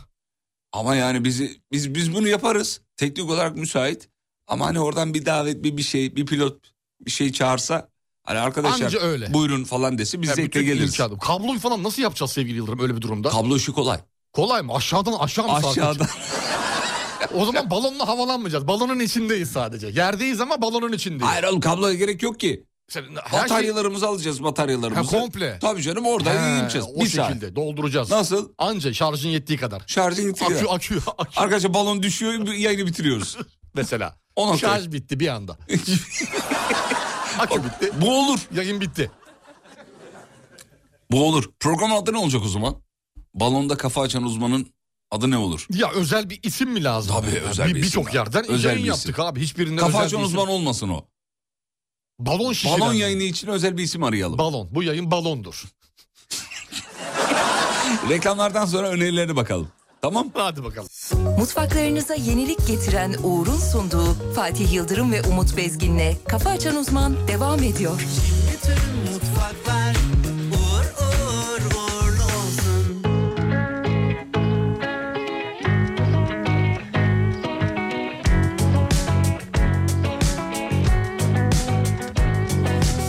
Ama yani bizi biz biz bunu yaparız. Teknik olarak müsait. Ama hani oradan bir davet bir bir şey bir pilot bir şey çağırsa hani arkadaşlar Anca öyle. buyurun falan dese biz Ya zevkle bütün geliriz. imkanı- Kabloyu falan nasıl yapacağız sevgili Yıldırım öyle bir durumda? Kablo işi kolay. Kolay mı? Aşağıdan aşağı mı sadece? Aşağıda O zaman balonla havalanmayacağız. Balonun içindeyiz sadece. Yerdeyiz ama balonun içindeyiz. hayır oğlum kabloya gerek yok ki. Sen- her şey- Bataryalarımızı alacağız Ha, bataryalarımızı. komple. Tabii canım oradan He, yiyeceğiz. O Bir saat. şekilde dolduracağız. Nasıl? Anca şarjın yettiği kadar. Şarjın yettiği akü, kadar. akü, akü. Arkadaşlar balon düşüyor yayını bitiriyoruz. [laughs] Mesela. Ona Şarj bitti bir [laughs] anda. akü bitti. Bu olur. Yayın bitti. Bu olur. Programın adı ne olacak o zaman? Balonda kafa açan uzmanın adı ne olur? Ya özel bir isim mi lazım? Tabii, Ya özel bir- bir isim Birçok ya. yerden Özel yayın bir isim. yaptık abi. Hiçbirinden Kafa özel açan bir isim- uzman olmasın o. Balon şişiren. Balon yayını için özel bir isim arayalım. Balon. Bu yayın balondur. Reklamlardan sonra önerilerine bakalım. Tamam? Hadi bakalım. Mutfaklarınıza yenilik getiren Uğur'un sunduğu Fatih Yıldırım ve Umut Bezgin'le Kafa Açan Uzman devam ediyor. Bütün mutfaklar uğur uğur uğurlu olsun.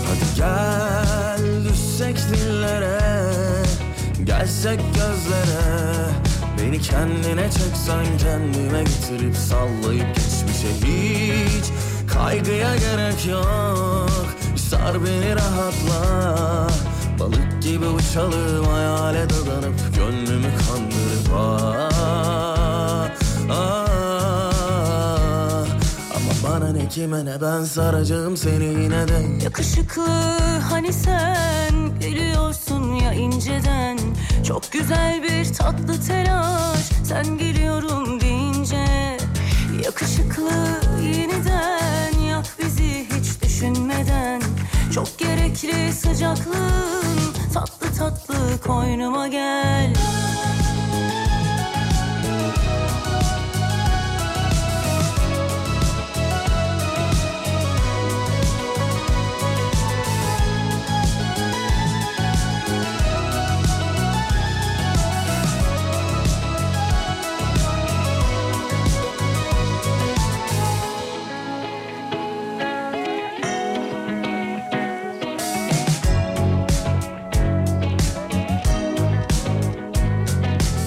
Hadi gel düşsek dillere Gelsek gözlere Beni kendine çeksen kendime getirip sallayıp geçmişe hiç Kaygıya gerek yok Sar beni rahatla Balık gibi uçalım hayale dadanıp Gönlümü kandırıp ah, ah. Ama bana ne kime ne ben saracağım seni yine de Yakışıklı hani sen gülüyorsun ya inceden Çok güzel bir tatlı telaş sen geliyorum deyince Yakışıklı yeniden yak bizi hiç düşünmeden Çok gerekli sıcaklığın tatlı tatlı koynuma gel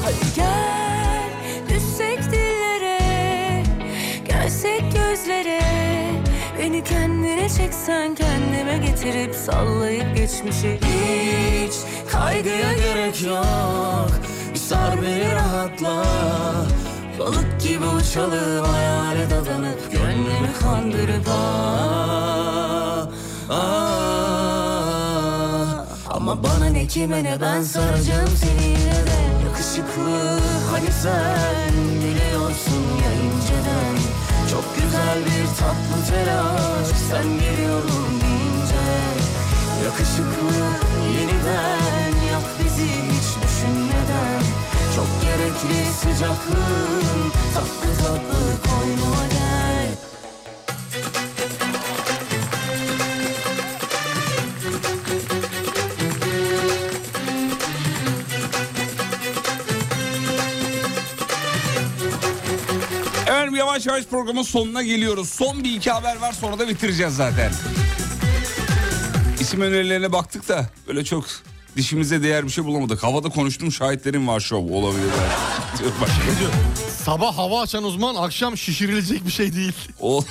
Hadi gel düşsek dillere Gelsek gözlere Beni kendine çeksen kendime getirip sallayıp geçmişi Hiç kaygıya gerek yok Sar beni rahatla Balık gibi uçalım hayale dadanıp Gönlümü kandırıp ah, ah. Ama bana ne kime ne ben saracağım seni yine de Yakışıklı hani sen Biliyorsun ya inceden Çok güzel bir tatlı telaş Sen geliyorum deyince Yakışıklı yeniden yap bizi Renkli sıcaklığın Tatlı tatlı koynuma gel Efendim yavaş yavaş programın sonuna geliyoruz. Son bir iki haber var sonra da bitireceğiz zaten. İsim önerilerine baktık da böyle çok dişimize değer bir şey bulamadık. Havada konuştum şahitlerim var şov olabilir. [laughs] belki. Diyor başka. Sabah hava açan uzman akşam şişirilecek bir şey değil. [laughs] Ol-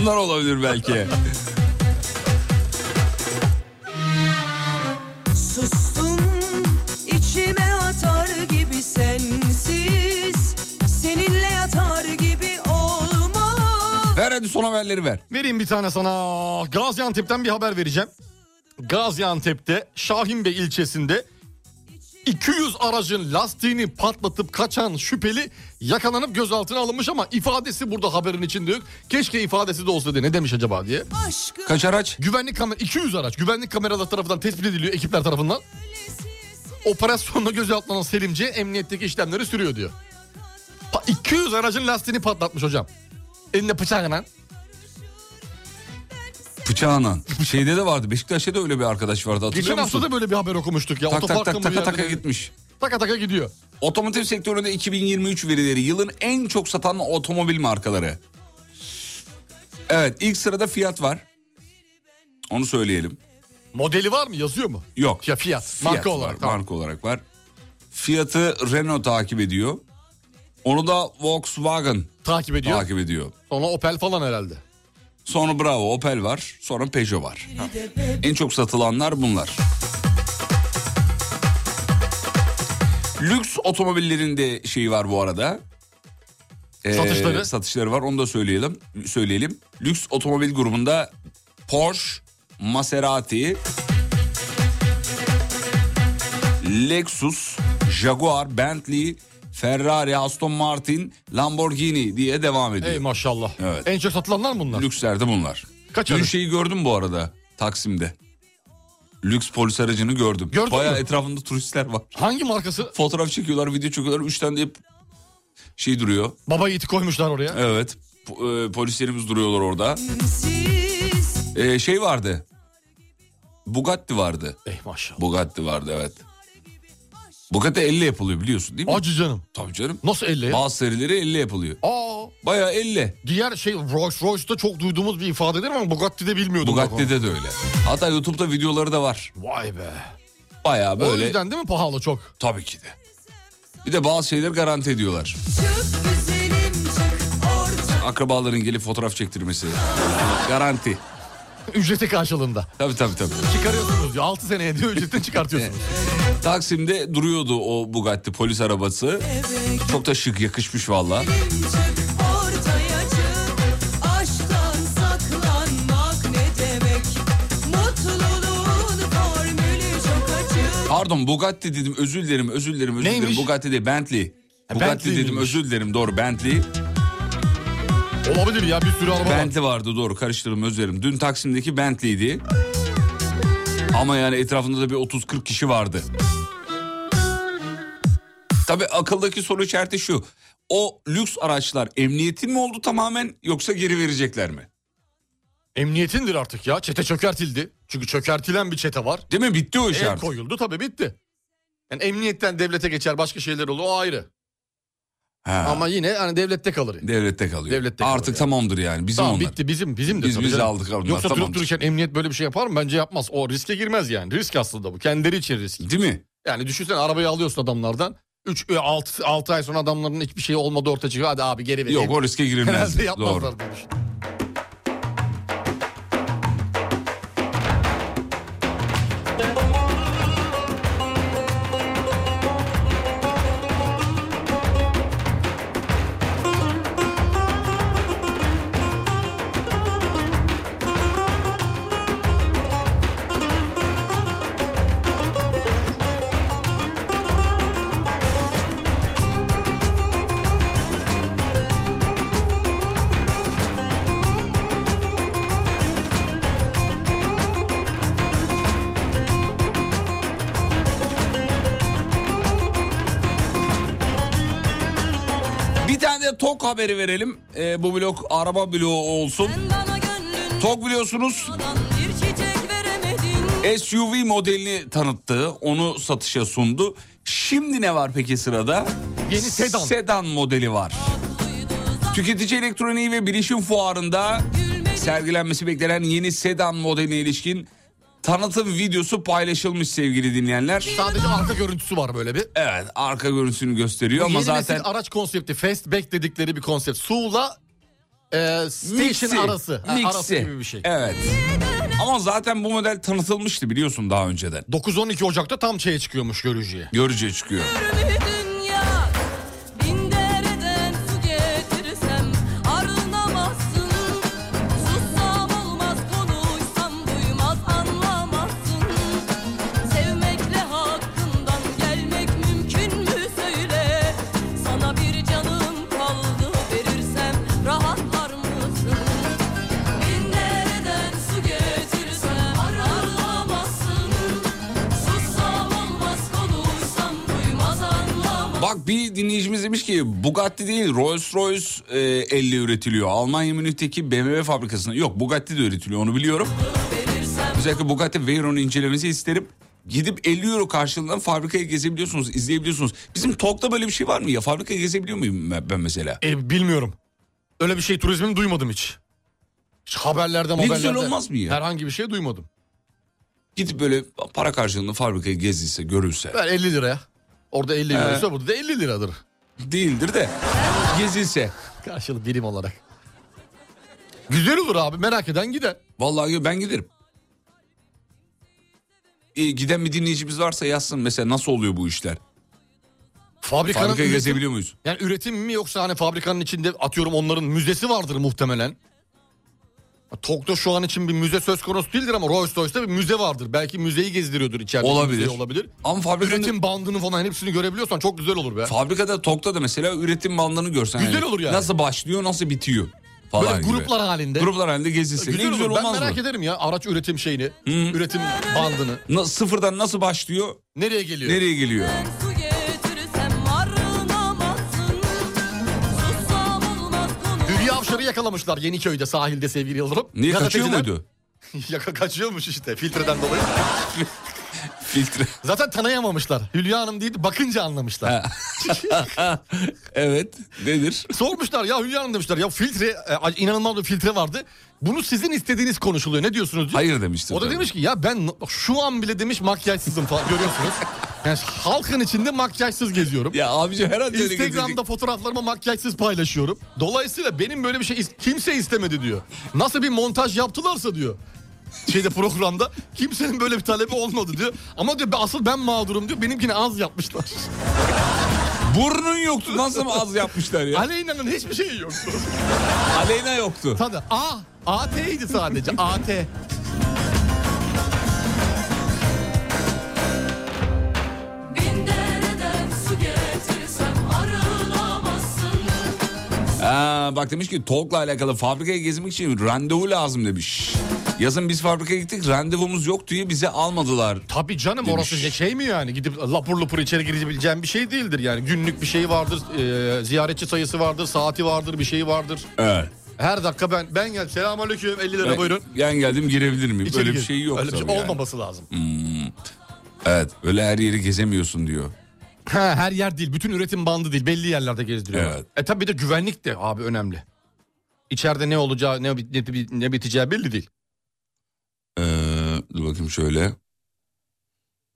Bunlar olabilir belki. Sustum içime atar gibi sensiz Seninle yatar gibi olmaz Ver hadi son haberleri ver. Vereyim bir tane sana. Gaziantep'ten bir haber vereceğim. Gaziantep'te Şahinbey ilçesinde 200 aracın lastiğini patlatıp kaçan şüpheli yakalanıp gözaltına alınmış ama ifadesi burada haberin içinde yok. Keşke ifadesi de olsa diye ne demiş acaba diye. Aşkı Kaç araç? Güvenlik kamera 200 araç güvenlik kameralar tarafından tespit ediliyor ekipler tarafından. Operasyonla gözaltına alınan Selimci emniyetteki işlemleri sürüyor diyor. Pa- 200 aracın lastiğini patlatmış hocam. Elinde bıçağıyla. Bıçağına. Şeyde de vardı. Beşiktaş'ta da öyle bir arkadaş vardı hatırlıyor Geçen musun? hafta da böyle bir haber okumuştuk ya. tak tak Otoparkta tak mı taka bir taka yerde- gitmiş. Taka taka gidiyor. Otomotiv sektöründe 2023 verileri yılın en çok satan otomobil markaları. Evet ilk sırada Fiat var. Onu söyleyelim. Modeli var mı yazıyor mu? Yok. Ya Fiat. marka var, olarak, tamam. Marka olarak var. Fiat'ı Renault takip ediyor. Onu da Volkswagen takip ediyor. Takip ediyor. Sonra Opel falan herhalde. Sonra Bravo, Opel var. Sonra Peugeot var. En çok satılanlar bunlar. Lüks otomobillerin de şeyi var bu arada. Ee, Satışları. Satışları var. Onu da söyleyelim. Söyleyelim. Lüks otomobil grubunda Porsche, Maserati, Lexus, Jaguar, Bentley, Ferrari, Aston Martin, Lamborghini diye devam ediyor. Ey maşallah. Evet. En çok satılanlar mı bunlar? Lükslerde bunlar. Kaç Dün araç? şeyi gördüm bu arada Taksim'de. Lüks polis aracını gördüm. Gördün Bayağı mü? etrafında turistler var. Hangi markası? Fotoğraf çekiyorlar, video çekiyorlar. Üç tane de hep şey duruyor. Baba yiğiti koymuşlar oraya. Evet. Po- e, polislerimiz duruyorlar orada. Hmm. Siz E, şey vardı. Bugatti vardı. Eh maşallah. Bugatti vardı evet. Bugatti elle yapılıyor biliyorsun değil mi? Acı canım. Tabii canım. Nasıl elle ya? Bazı serileri elle yapılıyor. Aa. Bayağı elle. Diğer şey Rolls Royce'da çok duyduğumuz bir ifadedir ama Bugatti'de bilmiyordum. bak onu. Bugatti'de de öyle. Hatta YouTube'da videoları da var. Vay be. Bayağı O böyle. yüzden değil mi pahalı çok? Tabii ki de. Bir de bazı şeyler garanti ediyorlar. Akrabaların gelip fotoğraf çektirmesi. garanti. Ücreti karşılığında. Tabii tabii tabii. Çıkarıyorsunuz diyor. 6 seneye diyor ücretini çıkartıyorsunuz. [laughs] Taksim'de duruyordu o Bugatti polis arabası. Çok da şık yakışmış valla. ortaya çık Aşktan saklanmak ne demek Mutluluğun formülü çok açık Pardon Bugatti dedim özür dilerim özür dilerim özür dilerim. Neymiş? Bugatti de Bentley. Bugatti Bentley dedim miymiş? özür dilerim doğru Bentley. Olabilir ya bir sürü araba var. Bentley vardı doğru karıştırdım özür dilerim. Dün Taksim'deki Bentley'di. Ama yani etrafında da bir 30-40 kişi vardı. Tabii akıldaki soru işareti şu. O lüks araçlar emniyetin mi oldu tamamen yoksa geri verecekler mi? Emniyetindir artık ya. Çete çökertildi. Çünkü çökertilen bir çete var. E, Değil mi? Bitti o iş El artık. koyuldu tabii bitti. Yani emniyetten devlete geçer başka şeyler olur o ayrı. Ha, Ama yine hani devlette kalır. yani. devlette kalıyor. Devlette artık tamamdır yani bizim tamam onlar. bitti bizim bizim de. Biz- tabii biz canım. aldık onlar, Yoksa tamamdır. durup dururken emniyet böyle bir şey yapar mı? Bence yapmaz. O riske girmez yani. Risk aslında bu. Kendileri için risk. Değil mi? Yani düşünsene arabayı alıyorsun adamlardan. 3 6 6 ay sonra adamların hiçbir şey olmadı ortaya çıkıyor. Hadi abi geri vereyim. Yok o riske girilmez. Herhalde Doğru. yapmazlar demiş. Bir tane de TOK haberi verelim. Ee, bu blok araba bloğu olsun. TOK biliyorsunuz SUV modelini tanıttı. Onu satışa sundu. Şimdi ne var peki sırada? Yeni sedan. Sedan modeli var. Tüketici elektroniği ve bilişim fuarında sergilenmesi beklenen yeni sedan modeline ilişkin tanıtım videosu paylaşılmış sevgili dinleyenler. Sadece arka görüntüsü var böyle bir. Evet arka görüntüsünü gösteriyor ama Yeni zaten nesil araç konsepti fastback dedikleri bir konsept. Su'la e, station Mixi, arası. Ha, mixi. arası gibi bir şey. Evet. Ama zaten bu model tanıtılmıştı biliyorsun daha önceden. 9-12 Ocak'ta tam şeye çıkıyormuş görücüye. Görücüye çıkıyor. dünya Bin dereden su getirsem arınamazsın Sussam olmaz konuşsam duymaz anlamazsın Sevmekle hakkından gelmek mümkün mü söyle Sana bir canım kaldı verirsem rahatlar mısın Bin dereden su getirsem arınamazsın Sussam olmaz konuşsam duymaz anlamaz Bak bir dinleyicimiz demiş ki Bugatti değil Rolls Royce e, elle üretiliyor. Almanya Münih'teki BMW fabrikasında. Yok Bugatti de üretiliyor onu biliyorum. Özellikle Bugatti Veyron'u incelemesi isterim. Gidip 50 euro karşılığında fabrikayı gezebiliyorsunuz, izleyebiliyorsunuz. Bizim TOK'ta böyle bir şey var mı ya? Fabrikayı gezebiliyor muyum ben mesela? E, bilmiyorum. Öyle bir şey turizmini duymadım hiç. Hiç haberlerde Ne haberlerde. güzel olmaz mı ya? Herhangi bir şey duymadım. Gidip böyle para karşılığında fabrikayı gezilse, görülse. Ver 50 liraya. Orada 50 Ee. liraysa burada da 50 liradır. Değildir de gezilse. Karşılık birim olarak. Güzel olur abi merak eden gider. Vallahi ben giderim. E, giden bir dinleyicimiz varsa yazsın mesela nasıl oluyor bu işler? Fabrikanın Fabrikayı üretim- gezebiliyor muyuz? Yani üretim mi yoksa hani fabrikanın içinde atıyorum onların müzesi vardır muhtemelen. Tok'ta şu an için bir müze söz konusu değildir ama Rolls Royce'da bir müze vardır. Belki müzeyi gezdiriyordur içeride. Olabilir. Müze olabilir. Ama fabrikanın- Üretim bandını falan hepsini görebiliyorsan çok güzel olur be. Fabrikada Tok'ta da mesela üretim bandını görsen. hani Güzel olur yani. Nasıl başlıyor nasıl bitiyor falan Böyle gibi. gruplar halinde. Gruplar halinde gezilse. Güzel, ne güzel olur. Ben olmaz merak mı? ederim ya araç üretim şeyini, üretim bandını. Na- sıfırdan nasıl başlıyor? Nereye geliyor? Nereye geliyor? Su getirsem arınamazsın Sussam olmaz Hülya Avşar'ı yakalamışlar Yeniköy'de sahilde sevgili Yıldırım. Niye kaçıyor Gazeteciler- muydu? [laughs] Yaka kaçıyormuş işte filtreden dolayı. [laughs] Filtre. Zaten tanıyamamışlar. Hülya Hanım değil bakınca anlamışlar. [laughs] evet nedir? Sormuşlar ya Hülya Hanım demişler. Ya filtre e, inanılmaz bir filtre vardı. Bunu sizin istediğiniz konuşuluyor. Ne diyorsunuz? diyor. Hayır demiştir O da tabii. demiş ki ya ben şu an bile demiş makyajsızım falan görüyorsunuz. Yani halkın içinde makyajsız geziyorum. Ya abici herhalde öyle Instagram'da gezecek. fotoğraflarımı makyajsız paylaşıyorum. Dolayısıyla benim böyle bir şey is- kimse istemedi diyor. Nasıl bir montaj yaptılarsa diyor. Şeyde programda kimsenin böyle bir talebi olmadı diyor. Ama diyor "Ben- asıl ben mağdurum diyor. Benimkini az yapmışlar. [laughs] Burnun yoktu nasıl az yapmışlar ya? Aleyna'nın hiçbir şeyi yoktu. Aleyna yoktu. Tadı A. AT'ydi sadece. [laughs] AT. Bin dereden su getirsem arınamazsın Aa, bak demiş ki TOK'la alakalı fabrikaya gezmek için randevu lazım demiş. Yazın biz fabrikaya gittik randevumuz yok diye bize almadılar. Tabii canım Demiş. orası şey mi yani gidip lapur lapur içeri girebileceğin bir şey değildir yani. Günlük bir şey vardır, e, ziyaretçi sayısı vardır, saati vardır, bir şey vardır. Evet. Her dakika ben ben gel selamünaleyküm 50 lira Ben- buyurun. Ben geldim girebilir miyim? İçeri Böyle gir. bir şey yok. Öyle bir şey tabii yani. olmaması lazım. Hmm. Evet öyle her yeri gezemiyorsun diyor. Ha, her yer değil. Bütün üretim bandı değil. Belli yerlerde gezdiriyorlar. Evet. E tabii bir de güvenlik de abi önemli. İçeride ne olacağı, ne, bit- ne, bit- ne biteceği belli değil. Ee, dur bakayım şöyle.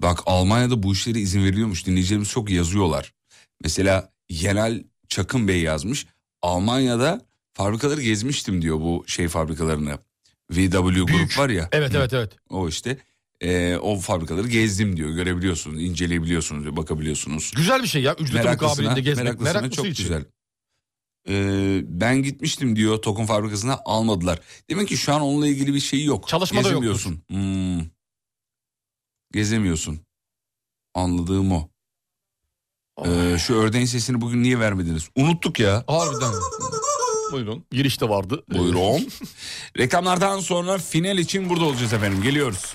Bak Almanya'da bu işlere izin veriliyormuş. Dinleyicilerimiz çok yazıyorlar. Mesela Yenal Çakın Bey yazmış. Almanya'da fabrikaları gezmiştim diyor bu şey fabrikalarını. VW grup var ya. Evet evet evet. O işte ee, o fabrikaları gezdim diyor. Görebiliyorsunuz, inceleyebiliyorsunuz, diyor, bakabiliyorsunuz. Güzel bir şey ya. Ücreti Meraklısına- mukabilinde gezmek. meraklısına Meraklısı çok için. güzel. Ee, ben gitmiştim diyor Tokun fabrikasına almadılar. Demek ki şu an onunla ilgili bir şey yok. Çalışma da Gezemiyorsun. Hmm. Gezemiyorsun. Anladığım o. Ee, şu ördeğin sesini bugün niye vermediniz? Unuttuk ya. Harbiden. Buyurun. Girişte vardı. [laughs] Buyurun. Reklamlardan sonra final için burada olacağız efendim. Geliyoruz.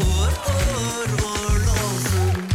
uğur uğur uğurlu olsun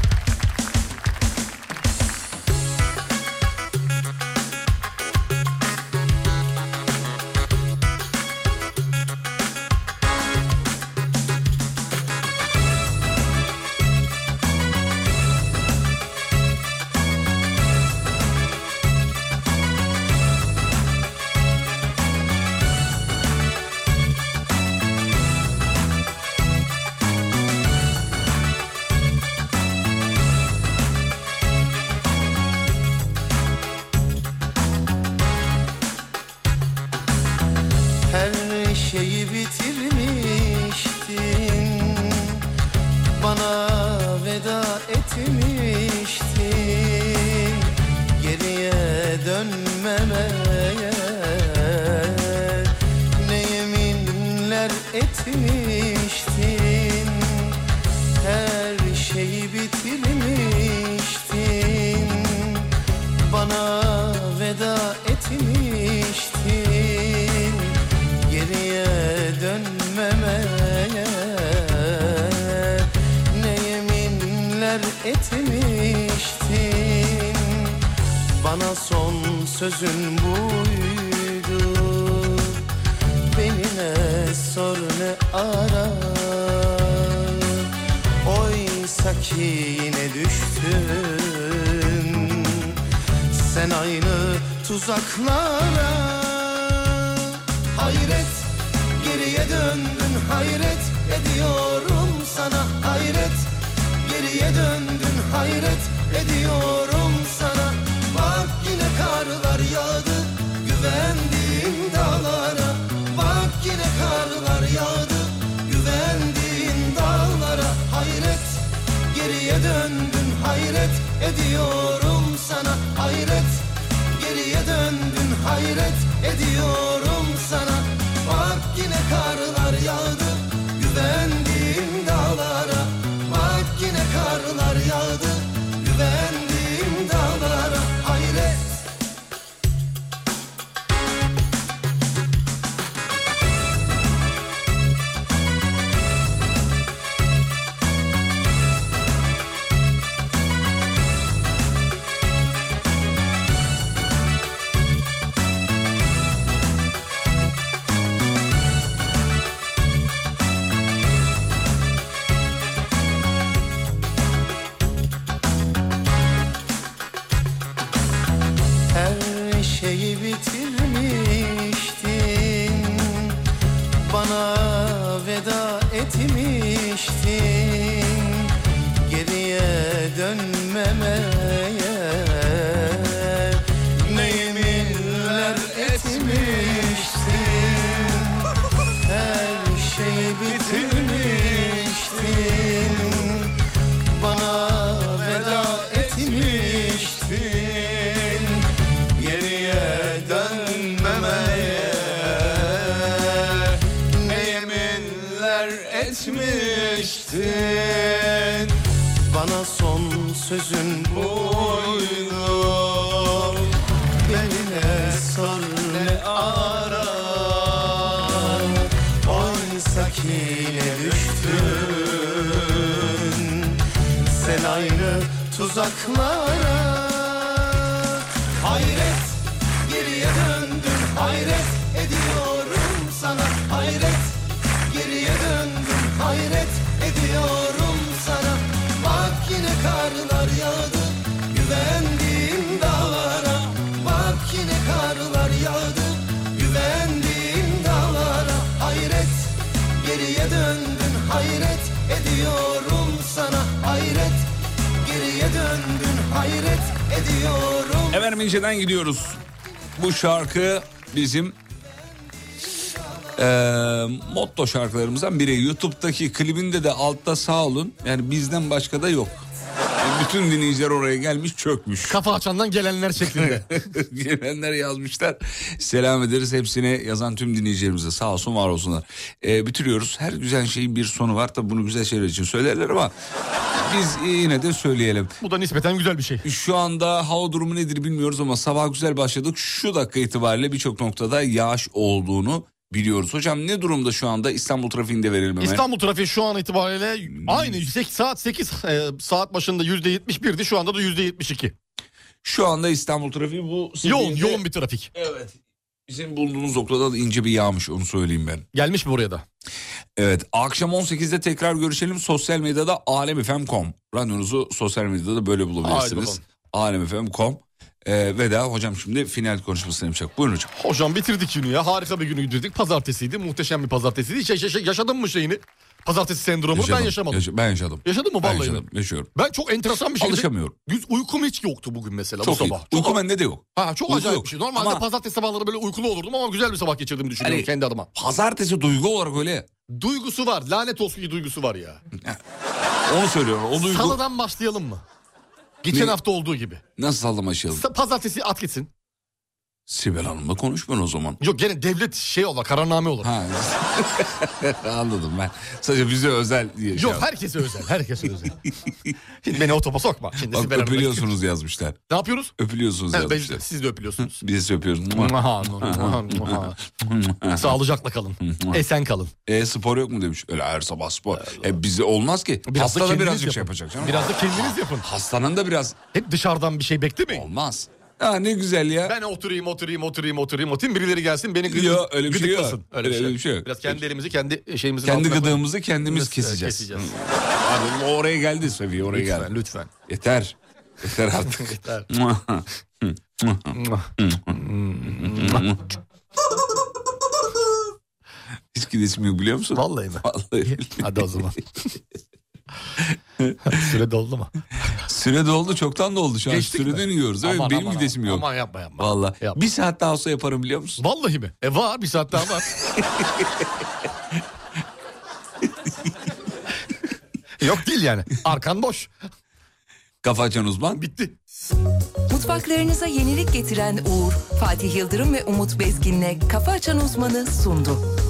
Her şeyi bitirmiştin Bana veda etmiştin Geriye dönmemeye Ne yeminler etmiştin Her şeyi bitirmiştin Bana veda etmiştin geriye dönmemeye ne yeminler etmiştin bana son sözün buydu beni ne sor ne ara oysa ki yine düştün sen aynı tuzaklara Hayret geriye döndün hayret ediyorum sana hayret Geriye döndün hayret ediyorum sana Bak yine karlar yağdı güvendiğin dağlara Bak yine karlar yağdı güvendiğin dağlara Hayret geriye döndün hayret ediyorum sana hayret Geriye döndün hayret ediyorum sana Bak yine karlar yağdı güvendiğim dağlara Bak yine karlar yağdı güvendiğim dağlara Hayret Her şeyi bitirmiştin Bana veda etmiştin Geriye dönmemeye Ne yeminler etmiştin Her şeyi bitirmiştin bana veda etmiştin Geriye dönmemeye Ne yeminler etmiştin Bana son sözün buydu Beni ne sor ne ara Oysa ki yine düştün sen aynı tuzaklara Hayret geriye döndün hayret ediyorum sana Hayret geriye döndün hayret ediyorum sana Bak yine karlar yağdı güvendiğim dağlara Bak yine karlar yağdı güvendiğim dağlara Hayret Geriye döndün hayret ediyorum sana hayret Geriye döndün hayret ediyorum Efendim inceden gidiyoruz. Bu şarkı bizim eee motto şarkılarımızdan biri. YouTube'daki klibinde de altta sağ olun. Yani bizden başka da yok. E, bütün dinleyiciler oraya gelmiş çökmüş. Kafa açandan gelenler şeklinde. [laughs] Gelenler yazmışlar. Selam ederiz hepsine yazan tüm dinleyicilerimize sağ olsun var olsunlar. Ee, bitiriyoruz. Her güzel şeyin bir sonu var. Tabi bunu güzel şeyler için söylerler ama biz e, yine de söyleyelim. Bu da nispeten güzel bir şey. Şu anda hava durumu nedir bilmiyoruz ama sabah güzel başladık. Şu dakika itibariyle birçok noktada yağış olduğunu biliyoruz. Hocam ne durumda şu anda İstanbul trafiğinde verelim hemen. İstanbul trafiği şu an itibariyle Hmm. aynı yüksek saat 8 e, saat başında %71'di şu anda da %72. Şu anda İstanbul trafiği bu yoğun yoğun bir trafik. Evet. Bizim bulunduğumuz noktada da ince bir yağmış onu söyleyeyim ben. Gelmiş mi buraya da? Evet akşam 18'de tekrar görüşelim sosyal medyada alemifem.com. Radyonuzu sosyal medyada da böyle Haydi bulabilirsiniz. bakalım. alemifem.com. Ee, veda hocam şimdi final konuşmasını yapacak. Buyurun hocam. Hocam bitirdik günü ya. Harika bir günü dedik. Pazartesiydi. Muhteşem bir pazartesiydi. Hiç yaşa- yaşadın mı şeyini? Pazartesi sendromunu ben yaşamadım. yaşa- ben yaşadım. Yaşadın mı Ben vallahi? yaşadım, yaşıyorum. Ben çok enteresan bir şey. Alışamıyorum. Güz uykum hiç yoktu bugün mesela Çok bu sabah. iyi. Uyku bende de yok. Ha çok Uyku acayip yok. bir şey. Normalde Ama- pazartesi sabahları böyle uykulu olurdum ama güzel bir sabah geçirdim düşünüyorum Hani kendi adıma. Pazartesi duygu olarak öyle. Duygusu var. Lanet olsun ki duygusu var ya. Onu söylüyorum. O duygu Salıdan başlayalım mı? Geçen Ne? hafta olduğu gibi. nasıl sallamayalım? Sa- Pazartesi at gitsin. Sibel Hanım'la konuşmayın o zaman. Yok gene devlet şey olur, kararname olur. Ha. [laughs] Anladım ben. Sadece bize özel diye. şey Yok yaptım. herkese özel, [laughs] herkese özel. Şimdi beni o topa sokma. Şimdi Bak Sibel Hanım'la- öpülüyorsunuz yazmışlar. Ne yapıyoruz? [laughs] Öpülüyorsunuz Ha, ben- yazmışlar. siz de öpülüyorsunuz. Biz öpüyoruz. Muha, muha, [laughs] muha. [laughs] Sağlıcakla kalın. Esen kalın. E spor yok mu demiş. Öyle her sabah spor. E bize olmaz ki. Biraz da Hasta da kendiniz birazcık şey yapın. yapacak canım. Biraz da kendiniz yapın. Hastanın da biraz Hep dışarıdan bir şey beklemeyin. olmaz. Ha ne güzel ya. Ben oturayım, oturayım, oturayım, oturayım, oturayım. Birileri gelsin beni gıdı- Yok, öyle bir şey yok. gıdıklasın. Öyle, bir şey. yok. Biraz kendi elimizi, kendi şeyimizin Kendi altına koyalım. gıdığımızı kendimiz Biz, e, keseceğiz. keseceğiz. [laughs] Abi bu oraya geldi seviye oraya Lütfen, geldi. lütfen. Yeter. [laughs] Yeter artık. [laughs] Yeter. Hiç gidesim yok biliyor musun? Vallahi mi? Vallahi. [laughs] Hadi o zaman. Süre doldu mu? Süre doldu çoktan doldu şu an. Geçtik mi? Süreden yiyoruz değil mi? Aman, Benim aman, gidesim aman. yok. Aman yapma yapma. Vallahi. Yapma. Bir saat daha olsa yaparım biliyor musun? Vallahi mi? E var bir [laughs] saat daha var. Yok değil yani. Arkan boş. Kafa açan uzman. Bitti. Mutfaklarınıza yenilik getiren Uğur, Fatih Yıldırım ve Umut Bezgin'le Kafa Açan Uzman'ı sundu.